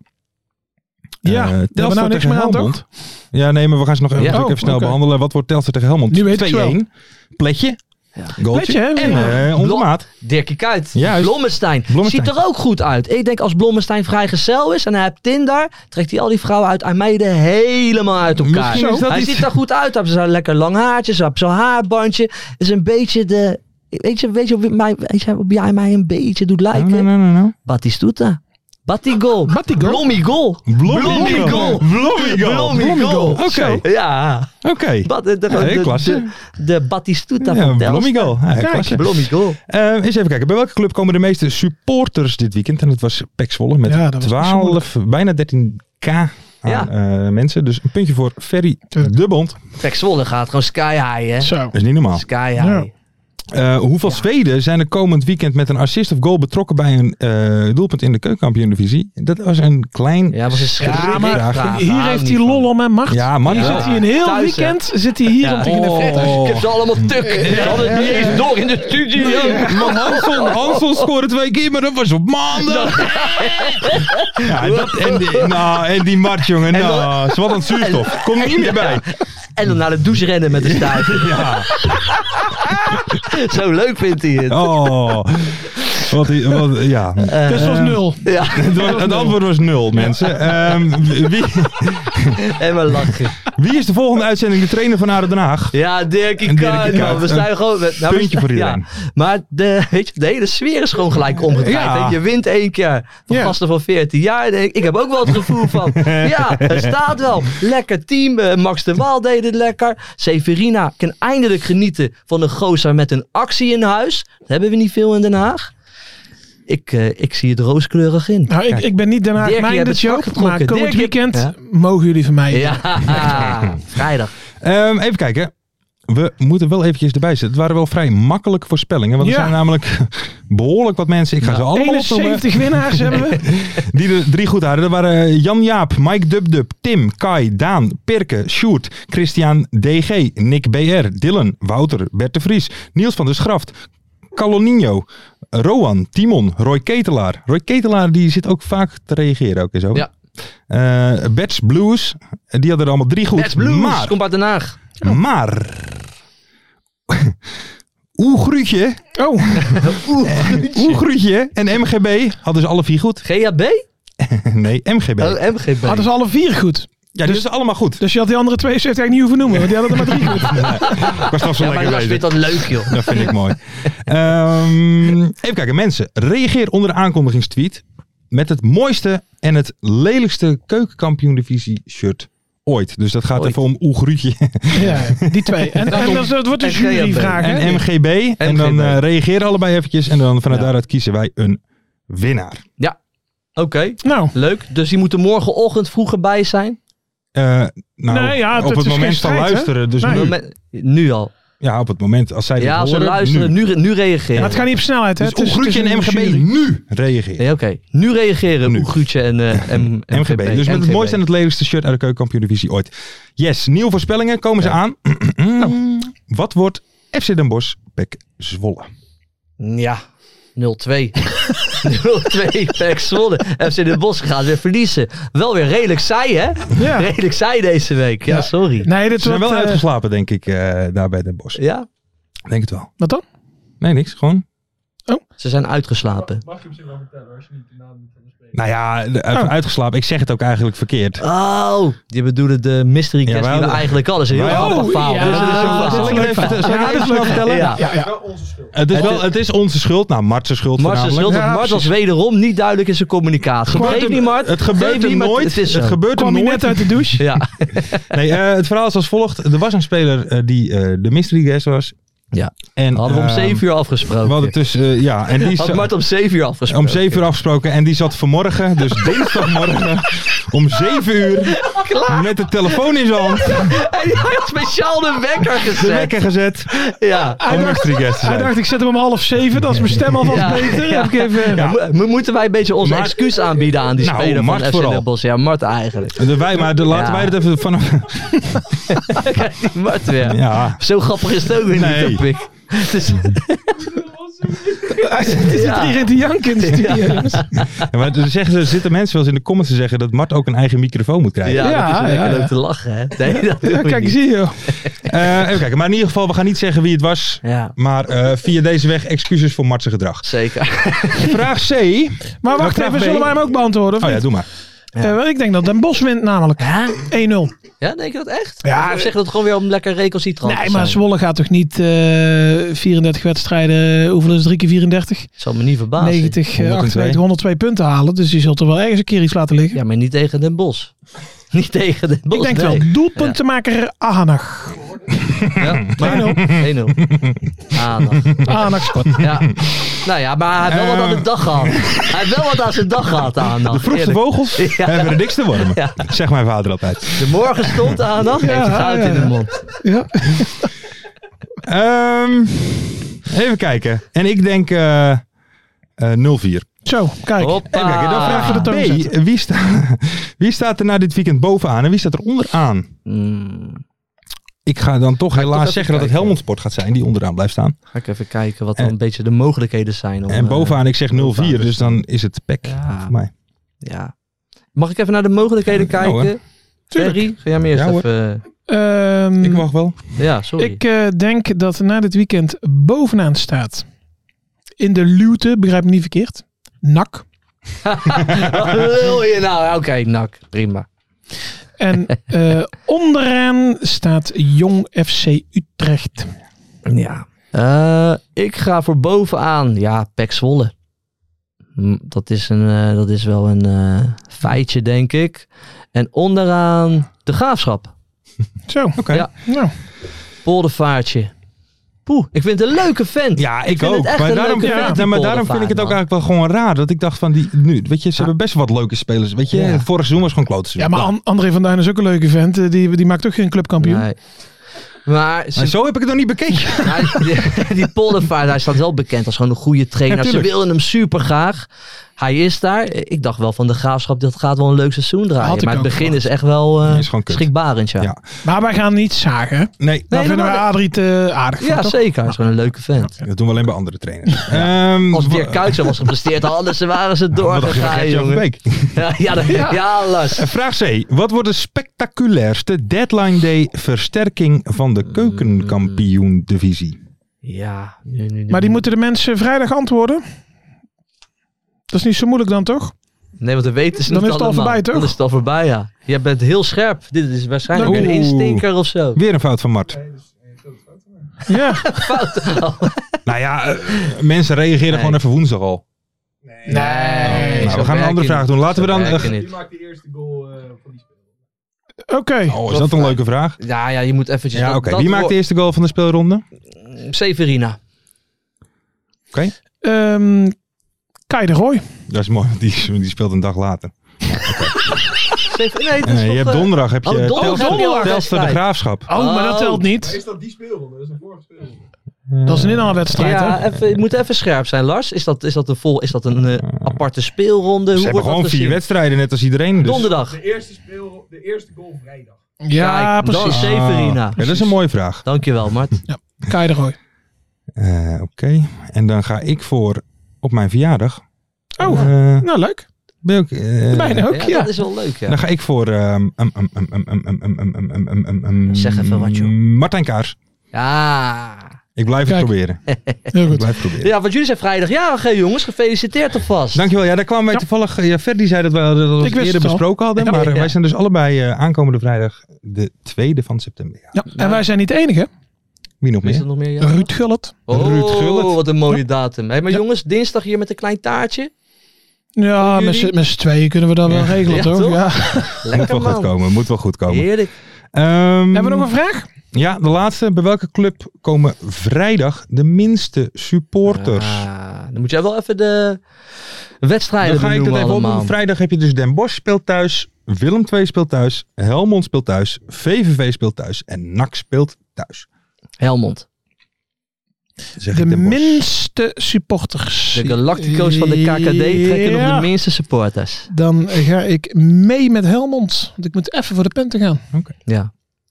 Speaker 7: Ja,
Speaker 6: Eh,
Speaker 7: we hebben nou niks
Speaker 6: tegen
Speaker 7: meer aan,
Speaker 6: Helmond. Ja, nee, maar we gaan ze nog even,
Speaker 8: Ja.
Speaker 6: natuurlijk
Speaker 7: Oh,
Speaker 6: even snel
Speaker 7: oké.
Speaker 6: behandelen. Wat wordt Telstra tegen Helmond?
Speaker 7: Nu weet ik het wel.
Speaker 6: 2-1. Pletje. Goaltje.
Speaker 7: Pletje, hè?
Speaker 6: en
Speaker 7: Ja.
Speaker 6: eh, onze
Speaker 8: Blok.
Speaker 6: maat.
Speaker 8: Dirkie Kuyt.
Speaker 6: Juist.
Speaker 8: Blommestein.
Speaker 6: Blommestein.
Speaker 8: Ziet er ook goed uit. Ik denk als Blommestein vrijgezel is en hij hebt Tinder, trekt hij al die vrouwen uit Armeiden helemaal uit elkaar.
Speaker 6: Misschien is dat
Speaker 8: hij
Speaker 6: iets-
Speaker 8: ziet er goed uit. Hij heeft zo'n lekker lang haartje, zo- zo'n haarbandje. Is een beetje de... Weet je, weet je, op wie mij, weet je op wie hij mij een beetje doet
Speaker 6: Nou,
Speaker 8: lijken?
Speaker 6: nou, nou, nou, nou.
Speaker 8: Batistuta. Batigol.
Speaker 7: Batigol.
Speaker 8: Blommigol. Blommigol.
Speaker 6: Blommigol.
Speaker 8: Blommigol.
Speaker 6: Oké.
Speaker 8: Ja.
Speaker 6: Oké.
Speaker 8: Bat- de, de,
Speaker 6: Ja, heel
Speaker 8: de-
Speaker 6: klasse.
Speaker 8: de- de Batistuta
Speaker 6: Ja,
Speaker 8: van Telstra.
Speaker 6: Blommigol. Ja, klasse.
Speaker 8: Blommigol.
Speaker 6: Eh, eens even kijken. Bij welke club komen de meeste supporters dit weekend? En dat was Pek Zwolle met
Speaker 7: Ja, dat was niet zo
Speaker 6: 12, bijna 13k aan
Speaker 8: Ja.
Speaker 6: eh, mensen. Dus een puntje voor Ferry
Speaker 7: Tuurlijk.
Speaker 6: de Bond.
Speaker 8: Pek Zwolle gaat gewoon sky high, hè?
Speaker 7: Zo.
Speaker 6: Dat is niet normaal.
Speaker 8: Sky high.
Speaker 7: Ja.
Speaker 6: Eh, hoeveel Zweden zijn er komend weekend met een assist of goal betrokken bij een eh, doelpunt in de keukenkampioen-divisie? Dat was een klein...
Speaker 8: Ja, was een
Speaker 7: Ja,
Speaker 8: schrik.
Speaker 7: maar
Speaker 8: vraag.
Speaker 7: hier
Speaker 8: Hou
Speaker 7: heeft
Speaker 8: niet
Speaker 7: hij
Speaker 8: van.
Speaker 7: lol om en macht.
Speaker 6: Ja, man.
Speaker 7: Hier
Speaker 6: Ja.
Speaker 7: zit hij een heel
Speaker 8: Thuis, hè?
Speaker 7: weekend zit hij hier
Speaker 8: Ja.
Speaker 7: om tegen de vetter.
Speaker 8: Ik heb ze allemaal tuk. Ik had het niet eens door in de studio.
Speaker 6: Man, Hansel, Hansel scoorde twee keer, maar dat was op maandag. Ja, dat, en, die, nou, en die mat, jongen.
Speaker 8: En dan-
Speaker 6: Nou, is wat een zuurstof. Kom er niet meer bij.
Speaker 8: En dan naar de douche rennen met de stuit.
Speaker 6: Ja.
Speaker 8: Zo leuk vindt hij het.
Speaker 6: Oh, wat, i- wat ja.
Speaker 7: Dus dat was nul.
Speaker 8: Ja,
Speaker 6: Het, was- het antwoord was nul, mensen. Ehm, wie,
Speaker 8: en we lachen.
Speaker 6: wie is de volgende uitzending de trainer van Aden Den Haag?
Speaker 8: Ja, Dirkie
Speaker 6: Een Dirkie
Speaker 8: Kuyt, man.
Speaker 6: Kuyt.
Speaker 8: We
Speaker 6: Een
Speaker 8: staan gewoon... met- nou, we
Speaker 6: puntje voor
Speaker 8: staan- ja. Maar de, weet je, de hele sfeer is gewoon gelijk omgedraaid.
Speaker 6: Ja.
Speaker 8: hè. Je wint één keer van
Speaker 7: Ja.
Speaker 8: gasten van 14 jaar. Ik, ik heb ook wel het gevoel van... ja, het staat wel. Lekker team. Eh, Max de Waal deed het lekker. Severina kan eindelijk genieten van een gozer met een actie in huis. Dat hebben we niet veel in Den Haag. Ik, eh, ik zie het rooskleurig in.
Speaker 7: Nou, ik, ik ben niet daarna
Speaker 8: Dirkie, je hebt
Speaker 7: mijn de
Speaker 8: het vak
Speaker 7: joke,
Speaker 8: getrokken.
Speaker 7: maar komend
Speaker 8: Dirkie-
Speaker 7: weekend
Speaker 8: Ja.
Speaker 7: mogen jullie van mij.
Speaker 8: Ja, vrijdag.
Speaker 6: Ehm, even kijken. We moeten wel eventjes erbij zitten. Het waren wel vrij makkelijke voorspellingen. Want er
Speaker 7: Ja. Nou,
Speaker 6: zijn namelijk behoorlijk wat mensen. Ik ga ze allemaal opnoemen.
Speaker 7: 71 winnaars hebben we.
Speaker 6: Die er drie goed hadden. Dat waren Jan-Jaap, Mike Dubdub, Tim, Kai, Daan, Pirke, Sjoerd, Christian DG, Nick BR, Dylan, Wouter, Bert de Vries, Niels van der Schraft, Caloninho, Roan, Timon, Roy Ketelaar. Roy Ketelaar die zit ook vaak te reageren ook en zo.
Speaker 8: Ja.
Speaker 6: Eh, Bets Blues, die hadden er allemaal drie goed.
Speaker 8: Let's Blues.
Speaker 6: Maar,
Speaker 8: Komt uit Den Haag.
Speaker 6: maar... Oeh, Gruutje.
Speaker 7: Oh,
Speaker 6: Oeh, Gruutje en MGB hadden ze alle vier goed.
Speaker 8: GHB?
Speaker 6: Nee, MGB.
Speaker 8: Oh, MGB.
Speaker 6: Ah,
Speaker 7: hadden ze Ah, alle vier goed.
Speaker 6: ja, dus, is allemaal goed.
Speaker 7: Dus je had die andere 72 eigenlijk niet hoeven noemen, want die hadden er maar drie goed.
Speaker 6: Ik was toch zo
Speaker 8: ja, maar
Speaker 6: lekker
Speaker 8: Lars
Speaker 6: bezig.
Speaker 8: vindt dat leuk, joh.
Speaker 6: Dat vind ik mooi. Ehm, even kijken, mensen. Reageer onder de aankondigingstweet. met het mooiste en het lelijkste keukenkampioen-divisie shirt ooit. Dus dat gaat even om Oegruutje
Speaker 7: Ja, die twee. En, en dat, dat wordt een
Speaker 8: En
Speaker 7: juryvraag. hè?
Speaker 6: en MGB. En
Speaker 8: MGB.
Speaker 6: dan eh reageren allebei eventjes. En dan vanuit
Speaker 8: Ja.
Speaker 6: daaruit kiezen wij een winnaar.
Speaker 8: Oké,
Speaker 7: Nou,
Speaker 8: leuk. Dus die moeten morgenochtend vroeger bij zijn.
Speaker 6: Eh, nou,
Speaker 7: Nee, ja,
Speaker 6: op
Speaker 7: dat
Speaker 6: het
Speaker 7: is
Speaker 6: moment
Speaker 7: geen
Speaker 6: van
Speaker 7: strijd, hè?
Speaker 6: luisteren. Dus
Speaker 7: Nee.
Speaker 6: nu.
Speaker 8: Me- Nu al.
Speaker 6: Ja, op het moment. Als zij dit
Speaker 8: Ja, als ze
Speaker 6: horen,
Speaker 8: luisteren,
Speaker 6: nu.
Speaker 8: nu, re- nu reageren.
Speaker 7: maar het gaat niet op snelheid. Hè?
Speaker 6: Dus
Speaker 7: Het is-
Speaker 6: Oegruutje
Speaker 7: het is
Speaker 6: en
Speaker 7: een
Speaker 6: MGB
Speaker 7: jury.
Speaker 6: nu reageren.
Speaker 8: Nee, oké. Nu reageren
Speaker 6: Nu.
Speaker 8: Oegruutje en eh, M- MGB.
Speaker 6: MGB. Dus met het
Speaker 8: MGB.
Speaker 6: mooiste en het lelijkste shirt uit de keukenkampioen-divisie ooit. Yes, nieuwe voorspellingen komen ze aan. Nou, Wat wordt FC Den Bosch Pek Zwolle?
Speaker 8: Ja, 0-2. 0-2 Pek Zwolle. FC Den Bosch gaat weer verliezen. Wel weer redelijk saai, hè?
Speaker 7: Ja.
Speaker 8: Redelijk saai deze week. Ja,
Speaker 7: Ja.
Speaker 8: sorry.
Speaker 7: Nee, dit
Speaker 6: Ze zijn
Speaker 7: wordt,
Speaker 6: wel
Speaker 7: eh,
Speaker 6: uitgeslapen, denk ik, eh, daar bij Den Bosch.
Speaker 8: Ja,
Speaker 6: Denk het wel.
Speaker 7: Wat dan?
Speaker 6: Nee, niks. Gewoon
Speaker 8: ze zijn uitgeslapen.
Speaker 6: Nou ja, de- even uitgeslapen. Ik zeg het ook eigenlijk verkeerd.
Speaker 8: Oh, die bedoelen de mystery
Speaker 6: Ja,
Speaker 8: guest
Speaker 6: wij
Speaker 8: die we
Speaker 6: hadden-
Speaker 8: eigenlijk al. Dat is een heel
Speaker 6: Wij
Speaker 8: grappig
Speaker 7: hadden-
Speaker 8: verhaal.
Speaker 7: Ja,
Speaker 8: Dus dat is een
Speaker 7: dat
Speaker 8: verhaal.
Speaker 7: is
Speaker 6: Zal ik het even- zal ik het even snel vertellen?
Speaker 8: Ja.
Speaker 7: Ja, ja.
Speaker 6: Het is,
Speaker 8: Het
Speaker 6: wel,
Speaker 8: is-
Speaker 6: het is onze schuld. Nou, Martse schuld
Speaker 8: Mars
Speaker 6: voornamelijk.
Speaker 8: schuld,
Speaker 6: Ja,
Speaker 8: Mars was
Speaker 6: precies.
Speaker 8: wederom niet duidelijk in zijn communicatie.
Speaker 6: Gewoon
Speaker 8: Geef
Speaker 6: het-
Speaker 8: niet, Mart.
Speaker 6: Het
Speaker 8: Geef
Speaker 6: gebeurt
Speaker 8: niet,
Speaker 6: hem
Speaker 8: maar
Speaker 6: nooit.
Speaker 8: Het is
Speaker 6: Het
Speaker 8: zo.
Speaker 6: gebeurt hem
Speaker 7: Kwam hij
Speaker 6: nooit.
Speaker 7: net uit de douche?
Speaker 8: Ja,
Speaker 6: Nee, eh, het verhaal is als volgt. Er was een speler eh, die eh, de mystery guest was.
Speaker 8: Ja.
Speaker 6: En,
Speaker 8: hadden we om
Speaker 6: ehm,
Speaker 8: 7 uur
Speaker 6: We hadden
Speaker 8: afgesproken.
Speaker 6: tussen, eh, ja. En die
Speaker 8: Had
Speaker 6: za-
Speaker 8: Mart om 7 uur afgesproken.
Speaker 6: om 7 uur afgesproken. En die zat vanmorgen, dus dinsdagmorgen, om 7 uur
Speaker 8: Klaar.
Speaker 6: met de telefoon in zijn hand.
Speaker 8: En hij had speciaal de wekker
Speaker 6: De
Speaker 8: gezet.
Speaker 6: wekker gezet
Speaker 8: Ja.
Speaker 6: om mystery guest te
Speaker 7: Hij
Speaker 6: zijn.
Speaker 7: dacht, ik zet hem om half zeven. Dat is mijn stem alvast
Speaker 8: Ja.
Speaker 7: beter.
Speaker 8: Ja.
Speaker 7: Heb ik even...
Speaker 8: Ja. Mo- mo- Moeten wij een beetje ons
Speaker 6: Maar-
Speaker 8: excuus aanbieden aan die
Speaker 6: Nou,
Speaker 8: speler
Speaker 6: Mart
Speaker 8: van FC
Speaker 6: vooral.
Speaker 8: Den Bosch? Ja, Mart eigenlijk.
Speaker 6: Eh, De, wij, maar de, laten
Speaker 8: Ja.
Speaker 6: wij dat even vanaf...
Speaker 8: Mart weer.
Speaker 6: Ja.
Speaker 8: Zo grappig is het ook weer
Speaker 6: Nee.
Speaker 8: niet, vind ik. Het is-
Speaker 7: Er zit
Speaker 8: Ja.
Speaker 7: hier in de jank in de studio. jongens.
Speaker 6: Ja, maar er, zeggen, ze- er zitten mensen wel eens in de comments te zeggen dat Mart ook een eigen microfoon moet krijgen.
Speaker 8: Ja,
Speaker 7: Ja,
Speaker 8: dat is lekker
Speaker 7: ja, ja.
Speaker 8: om te lachen, hè? Nee, dat doe
Speaker 7: Ja,
Speaker 8: je
Speaker 7: kijk,
Speaker 8: niet.
Speaker 7: zie je.
Speaker 6: Eh, even kijken. Maar in ieder geval, we gaan niet zeggen wie het was.
Speaker 8: Ja,
Speaker 6: Maar eh, via deze weg excuses voor Martse gedrag.
Speaker 8: zeker.
Speaker 6: Vraag C.
Speaker 7: Maar wacht
Speaker 6: vraag
Speaker 7: even,
Speaker 6: B.
Speaker 7: zullen wij hem ook beantwoorden?
Speaker 6: Oh
Speaker 7: of
Speaker 6: ja,
Speaker 7: niet?
Speaker 6: doe maar.
Speaker 7: Eh, wel, ik denk dat Den Bos wint namelijk 1-0.
Speaker 8: Ja, denk je dat echt?
Speaker 7: Ja.
Speaker 8: Of zeg je dat gewoon weer om lekker reconciliant
Speaker 7: Nee,
Speaker 8: te
Speaker 7: maar
Speaker 8: zijn?
Speaker 7: Zwolle gaat toch niet eh, 34 wedstrijden, hoeveel is het? 3 keer 34?
Speaker 8: Zal me niet
Speaker 6: Ah,
Speaker 8: verbazen.
Speaker 7: 90, eh,
Speaker 6: 102.
Speaker 7: 98, 102 punten halen. Dus die zult er wel ergens een keer iets laten liggen.
Speaker 8: Ja, maar niet tegen Den Bos. niet tegen Den Bos.
Speaker 7: ik denk
Speaker 8: nee.
Speaker 7: wel. Doelpuntenmaker Ahanag.
Speaker 8: Ja, maar 1-0. Aandacht.
Speaker 7: Ahanag scoort.
Speaker 8: Ja. Nou ja, maar hij heeft wel wat aan de dag gehad. Hij heeft wel wat aan zijn dag gehad, Aandacht.
Speaker 6: De vroegste
Speaker 8: Eerlijk.
Speaker 6: vogels
Speaker 8: Ja.
Speaker 6: hebben de dikste wormen. Zeg mijn vader altijd.
Speaker 8: De morgen stond Aandacht.
Speaker 7: Ja,
Speaker 8: Heeft het goud in
Speaker 7: ja.
Speaker 8: de mond.
Speaker 7: Ja.
Speaker 6: Ehm, even kijken. En ik denk eh, eh, 04.
Speaker 7: Zo, kijk.
Speaker 8: Hoppa.
Speaker 6: Even kijken. Dan vraag je
Speaker 7: de toon
Speaker 6: Ah. B.
Speaker 7: zetten.
Speaker 6: Wie, sta- wie staat er na dit weekend bovenaan en wie staat er onderaan?
Speaker 8: Hmm,
Speaker 6: Ik ga dan toch
Speaker 8: toch
Speaker 6: helaas
Speaker 8: even
Speaker 6: zeggen dat het
Speaker 8: kijken.
Speaker 6: Helmond Sport gaat zijn die onderaan blijft staan.
Speaker 8: ga ik even kijken wat dan
Speaker 6: En-
Speaker 8: een beetje de mogelijkheden zijn. Om,
Speaker 6: En
Speaker 8: eh,
Speaker 6: bovenaan ik zeg 04,
Speaker 8: bovenaan.
Speaker 6: dus dan is het pek
Speaker 8: Ja.
Speaker 6: voor mij.
Speaker 8: ja. Mag ik even naar de mogelijkheden
Speaker 6: Ja, hoor.
Speaker 8: kijken? Ferry, ga jij me eerst
Speaker 6: Ja, hoor.
Speaker 8: even... eh,
Speaker 7: Ehm,
Speaker 6: Ik mag wel.
Speaker 8: Ja, sorry.
Speaker 7: ik eh, denk dat na dit weekend bovenaan staat. In de luwte, begrijp me niet verkeerd. Nak.
Speaker 8: Wat wil je nou? Oké, nak. Prima.
Speaker 7: En eh, onderaan staat Jong FC Utrecht.
Speaker 8: Ja. Eh, ik ga voor bovenaan. Ja, Pek Zwolle. Hm, Dat is, een, eh, dat is wel een eh, feitje, denk ik. En onderaan de graafschap.
Speaker 7: Zo.
Speaker 6: Oké.
Speaker 8: Ja.
Speaker 7: Nou,
Speaker 8: Poldervaartje. Poeh, ik vind het een leuke vent.
Speaker 6: Ja, ik,
Speaker 8: vind
Speaker 6: ook.
Speaker 8: het echt
Speaker 6: Maar
Speaker 8: een
Speaker 6: daarom,
Speaker 8: leuke vent,
Speaker 6: ja,
Speaker 8: die
Speaker 6: maar daarom vind ik het ook
Speaker 8: Poldervaart,
Speaker 6: eigenlijk wel gewoon raar. Dat ik dacht van die nu, weet je, ze
Speaker 8: Ja.
Speaker 6: hebben best wat leuke spelers. Weet je,
Speaker 8: Ja.
Speaker 6: vorig seizoen was gewoon klote
Speaker 7: ja,
Speaker 6: seizoen. Nou,
Speaker 7: maar An- André van Duin is ook een leuke vent. Eh, Die, die maakt ook geen clubkampioen.
Speaker 8: Nee. Maar ze-
Speaker 6: Maar zo heb ik het nog niet bekeken.
Speaker 8: hij- Nou, die, die Poldervaart, hij staat wel bekend als gewoon een goede trainer.
Speaker 6: Ja,
Speaker 8: ze
Speaker 6: tuurlijk.
Speaker 8: willen hem super graag. Hij is daar. Ik dacht wel van de graafschap, dat gaat wel een leuk seizoen
Speaker 7: Had
Speaker 8: draaien.
Speaker 7: ik
Speaker 8: Maar het
Speaker 7: ook
Speaker 8: begin
Speaker 7: verwacht.
Speaker 8: is echt wel eh
Speaker 6: Nee, is gewoon kut.
Speaker 8: schrikbarend, ja.
Speaker 6: Ja.
Speaker 7: Maar wij gaan niet zagen. Dan
Speaker 6: Nee, nou,
Speaker 8: nee,
Speaker 7: vinden
Speaker 8: maar
Speaker 7: we
Speaker 8: dat-
Speaker 7: Adrie te aardig. voor,
Speaker 8: Ja,
Speaker 7: toch?
Speaker 8: zeker. Hij is gewoon een leuke vent.
Speaker 6: dat doen we alleen bij andere trainers. Ehm,
Speaker 8: Als
Speaker 6: wa-
Speaker 8: Dirk Kuyt zo was gepresteerd, anders waren ze
Speaker 6: wat dacht je van
Speaker 8: doorgegaan,
Speaker 6: Gertje van
Speaker 8: jongen.
Speaker 6: Beek?
Speaker 8: Ja, ja, dat- ja, Lars.
Speaker 6: Eh, Vraag C. Wat wordt de spectaculairste deadline day versterking van de keukenkampioen divisie?
Speaker 8: Ja. nu- nu- nu-
Speaker 7: Maar die moeten de mensen vrijdag antwoorden. Dat is niet zo moeilijk dan toch?
Speaker 8: Nee, want dan weten ze
Speaker 7: Dan
Speaker 8: niet
Speaker 7: is het al
Speaker 8: allemaal.
Speaker 7: voorbij, toch?
Speaker 8: Dan is het al voorbij, ja. Jij bent heel scherp. Dit is waarschijnlijk
Speaker 6: Oeh.
Speaker 8: een instinker of zo.
Speaker 6: Weer een fout van Mart.
Speaker 7: Ja.
Speaker 8: Fout.
Speaker 6: nou ja, eh, mensen reageren
Speaker 8: Nee.
Speaker 6: gewoon even woensdag al.
Speaker 7: Nee.
Speaker 6: Nou, we gaan een andere vraag doen. Laten we dan... eh,
Speaker 8: maakt de eerste goal van die
Speaker 7: Oké.
Speaker 6: Oh, is dat een leuke vraag?
Speaker 8: Ja, ja, je moet eventjes...
Speaker 6: Ja,
Speaker 8: dat-
Speaker 6: oké.
Speaker 8: dat
Speaker 6: Wie maakt
Speaker 8: wo-
Speaker 6: de eerste goal van de speelronde? Oké.
Speaker 8: Severina.
Speaker 7: Ehm Kai de Roy.
Speaker 6: Dat is mooi, want die, is- die speelt een dag later.
Speaker 8: Sever- Nee, dat is
Speaker 6: Nee,
Speaker 8: nog,
Speaker 6: je hebt
Speaker 8: eh,
Speaker 6: donderdag heb je
Speaker 8: oh, donderdag
Speaker 6: Telstra-
Speaker 8: heb je al een
Speaker 6: Telstra de
Speaker 8: wedstrijd.
Speaker 6: Graafschap.
Speaker 7: Oh, maar dat
Speaker 8: Oh.
Speaker 7: telt niet.
Speaker 9: dat die speelronde? Dat is een vorige speelronde.
Speaker 8: eh,
Speaker 7: Dat is een inhaalwedstrijd,
Speaker 8: Ja,
Speaker 7: hè?
Speaker 8: even, je moet even scherp zijn, Lars. Is dat, is dat een, vol, is dat een eh, aparte speelronde?
Speaker 6: Ze
Speaker 8: Hoe
Speaker 6: hebben
Speaker 8: wordt
Speaker 6: gewoon
Speaker 8: dat
Speaker 6: vier
Speaker 8: gezien?
Speaker 6: wedstrijden, net als iedereen. Dus.
Speaker 8: Donderdag.
Speaker 9: eerste, speel, de eerste goal vrijdag.
Speaker 7: Ja,
Speaker 8: Kijk, dan
Speaker 7: precies.
Speaker 8: is- Severina.
Speaker 6: Oké, Ah. dat is een mooie vraag.
Speaker 8: Dankjewel, Mart.
Speaker 7: Kai de Roy.
Speaker 6: Eh, Oké, en dan ga ik voor op mijn verjaardag.
Speaker 7: Oh,
Speaker 6: Eh,
Speaker 7: nou leuk.
Speaker 6: ben ik, eh,
Speaker 7: Bijna ook,
Speaker 8: Ja,
Speaker 7: ja.
Speaker 8: dat is wel leuk, ja.
Speaker 6: Dan ga ik voor. ehm, em, em, em, em, em, em, em, em, em, em, em, em, em,
Speaker 8: Zeg even wat, joh.
Speaker 6: mm, Martijn Kaars.
Speaker 8: Ja.
Speaker 6: Ik blijf
Speaker 7: Kijk.
Speaker 6: het proberen.
Speaker 7: Heel
Speaker 6: Ik
Speaker 7: goed.
Speaker 6: blijf het proberen.
Speaker 8: ja, want jullie zijn vrijdag jarige jongens. Gefeliciteerd alvast.
Speaker 6: Dankjewel. Ja, daar kwamen wij
Speaker 7: Ja.
Speaker 6: toevallig. eh, Ja, Ferdi zei dat we dat we het
Speaker 7: wist
Speaker 6: eerder
Speaker 7: het al.
Speaker 6: besproken hadden.
Speaker 7: Ja.
Speaker 6: Maar eh,
Speaker 8: Ja.
Speaker 6: wij zijn dus allebei eh, aankomende vrijdag de 2e van september. Ja.
Speaker 7: Ja, en wij zijn niet de enige.
Speaker 6: Wie nog
Speaker 8: Is
Speaker 6: meer?
Speaker 8: er nog meer? Nou. Ja?
Speaker 7: Ruud Gullit.
Speaker 8: Oh,
Speaker 6: Ruud Gullit.
Speaker 8: wat een mooie datum. Hey, maar jongens, dinsdag hier met een klein taartje.
Speaker 7: Ja, met z'n- met z'n tweeën kunnen we dat wel regelen,
Speaker 8: Ja,
Speaker 7: toch?
Speaker 8: toch?
Speaker 7: Ja.
Speaker 6: Moet wel
Speaker 8: Lekker
Speaker 6: goed
Speaker 8: man.
Speaker 6: komen. Moet wel goed komen.
Speaker 8: Heerlijk.
Speaker 6: Ehm,
Speaker 7: Hebben we nog een vraag?
Speaker 6: Ja, de laatste. Bij welke club komen vrijdag de minste supporters?
Speaker 8: Ah, dan moet jij wel even de wedstrijden
Speaker 6: Dan ga ik dat
Speaker 8: benoemen
Speaker 6: even
Speaker 8: allemaal.
Speaker 6: op. Vrijdag heb je dus Den Bosch speelt thuis, Willem II speelt thuis, Helmond speelt thuis, VVV speelt thuis en NAC speelt thuis.
Speaker 8: Helmond.
Speaker 6: Zeg
Speaker 7: De
Speaker 6: ik Den Bosch.
Speaker 7: minste supporters.
Speaker 8: De Galactico's van de KKD trekken
Speaker 7: Ja.
Speaker 8: op de minste supporters.
Speaker 7: Dan ga ik mee met Helmond. Want ik moet even voor de punten gaan.
Speaker 8: Ja.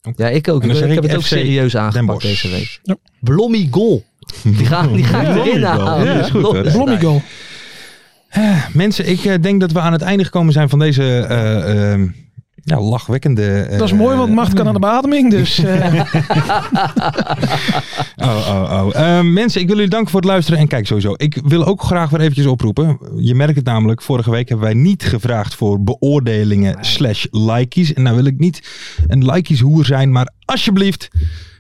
Speaker 6: Oké.
Speaker 8: Ja, ik
Speaker 6: En
Speaker 8: ook. Ik,
Speaker 6: dan zeg
Speaker 8: heb
Speaker 6: ik
Speaker 8: het ook
Speaker 6: FC
Speaker 8: serieus aangepakt
Speaker 6: Bosch.
Speaker 8: deze week.
Speaker 7: Ja.
Speaker 8: Blommy goal. Die ga, die ga ik
Speaker 6: Blommy
Speaker 8: erin
Speaker 6: goal.
Speaker 8: halen.
Speaker 6: Ja, is goed, hoor.
Speaker 7: Blommigo.
Speaker 6: Mensen, ik eh, denk dat we aan het einde gekomen zijn van deze eh, eh, ja, lachwekkende... eh,
Speaker 7: Dat is mooi, want macht kan aan de beademing. Dus eh,
Speaker 6: Oh, oh, oh. Eh, mensen, ik wil jullie danken voor het luisteren. En kijk, sowieso, ik wil ook graag weer eventjes oproepen. Je merkt het namelijk, vorige week hebben wij niet gevraagd voor beoordelingen slash likeys. En nou wil ik niet een likeyshoer zijn, maar alsjeblieft,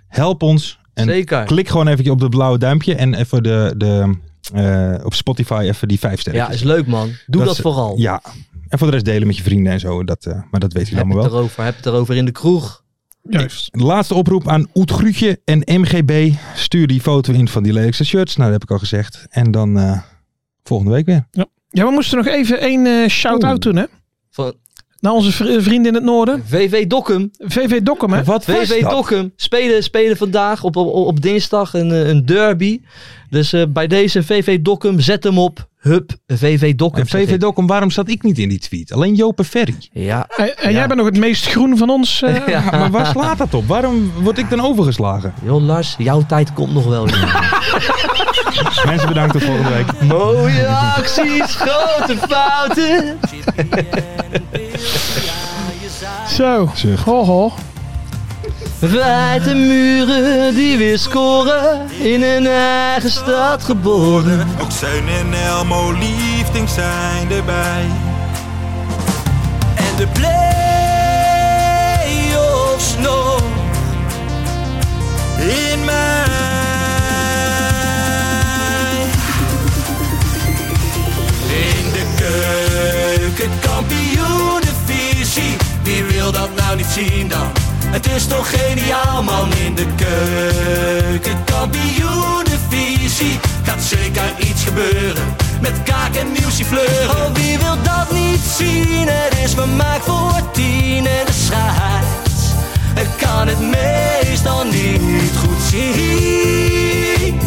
Speaker 6: help ons. En
Speaker 8: Zeker.
Speaker 6: klik gewoon even op dat blauwe duimpje en even de, de, eh, op Spotify even die vijf sterren.
Speaker 8: Ja, is leuk man. Doe dat,
Speaker 6: is-
Speaker 8: vooral.
Speaker 6: Ja. En voor de rest delen met je vrienden en zo. Dat, eh, maar dat weet je
Speaker 8: heb
Speaker 6: allemaal
Speaker 8: het
Speaker 6: wel.
Speaker 8: erover. Heb het erover in de kroeg.
Speaker 7: juist.
Speaker 6: De laatste oproep aan Oet Groetje en MGB. Stuur die foto in van die lelijkste shirts. Nou, dat heb ik al gezegd. En dan eh, volgende week weer.
Speaker 7: Ja, we moesten nog even één eh, shout-out doen, hè?
Speaker 8: Van
Speaker 7: Naar onze vri- vrienden in het noorden.
Speaker 8: VV Dokkum.
Speaker 7: VV Dokkum, hè?
Speaker 6: Wat was
Speaker 8: VV
Speaker 6: dat?
Speaker 8: Dokkum. Spelen, spelen vandaag op, op, op dinsdag een, eh, een derby. Dus eh, bij deze VV Dokkum, zet hem op. Hup, VV Dokkum.
Speaker 6: En
Speaker 8: zeg
Speaker 6: VV
Speaker 8: ik.
Speaker 6: Dokkum, waarom zat ik niet in die tweet? Alleen Joop en Ferry.
Speaker 8: Ja.
Speaker 7: En, en
Speaker 8: Ja.
Speaker 7: eh, jij bent nog het meest groen van ons. eh.
Speaker 8: ja.
Speaker 6: Maar waar slaat dat op? Waarom word ik dan overgeslagen?
Speaker 8: Joh Lars, jouw tijd komt nog wel. jongen.
Speaker 6: Mensen, bedankt tot volgende week.
Speaker 8: Mooie acties, grote fouten.
Speaker 7: Zo.
Speaker 6: Zucht.
Speaker 7: Ho, ho.
Speaker 8: Wijd de muren die weer scoren. In hun eigen stad geboren.
Speaker 5: Ook Zeun en Elmo liefdings zijn erbij.
Speaker 4: en de play-offs nog in mij. In de keuken, kampioenenvisie, wie wil dat nou niet zien dan? Het is toch geniaal man in de keuken, kampioenenvisie. Gaat zeker iets gebeuren, met kaak en nieuwsje fleuren. Oh, wie wil dat niet zien? Het is vermaakt voor tien en de scheids. Ik kan het meestal niet goed zien.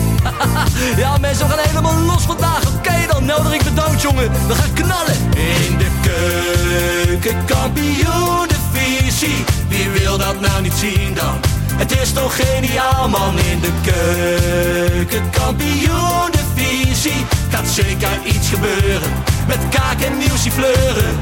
Speaker 4: Ja, mensen, we gaan helemaal los vandaag. Oké dan, nodig ik bedankt, jongen. We gaan knallen. In de keuken, kampioenenvisie. Wie wil dat nou niet zien dan? Het is toch geniaal, man. In de keuken, kampioenenvisie. Gaat zeker iets gebeuren. Met kaak en nieuwsie fleuren.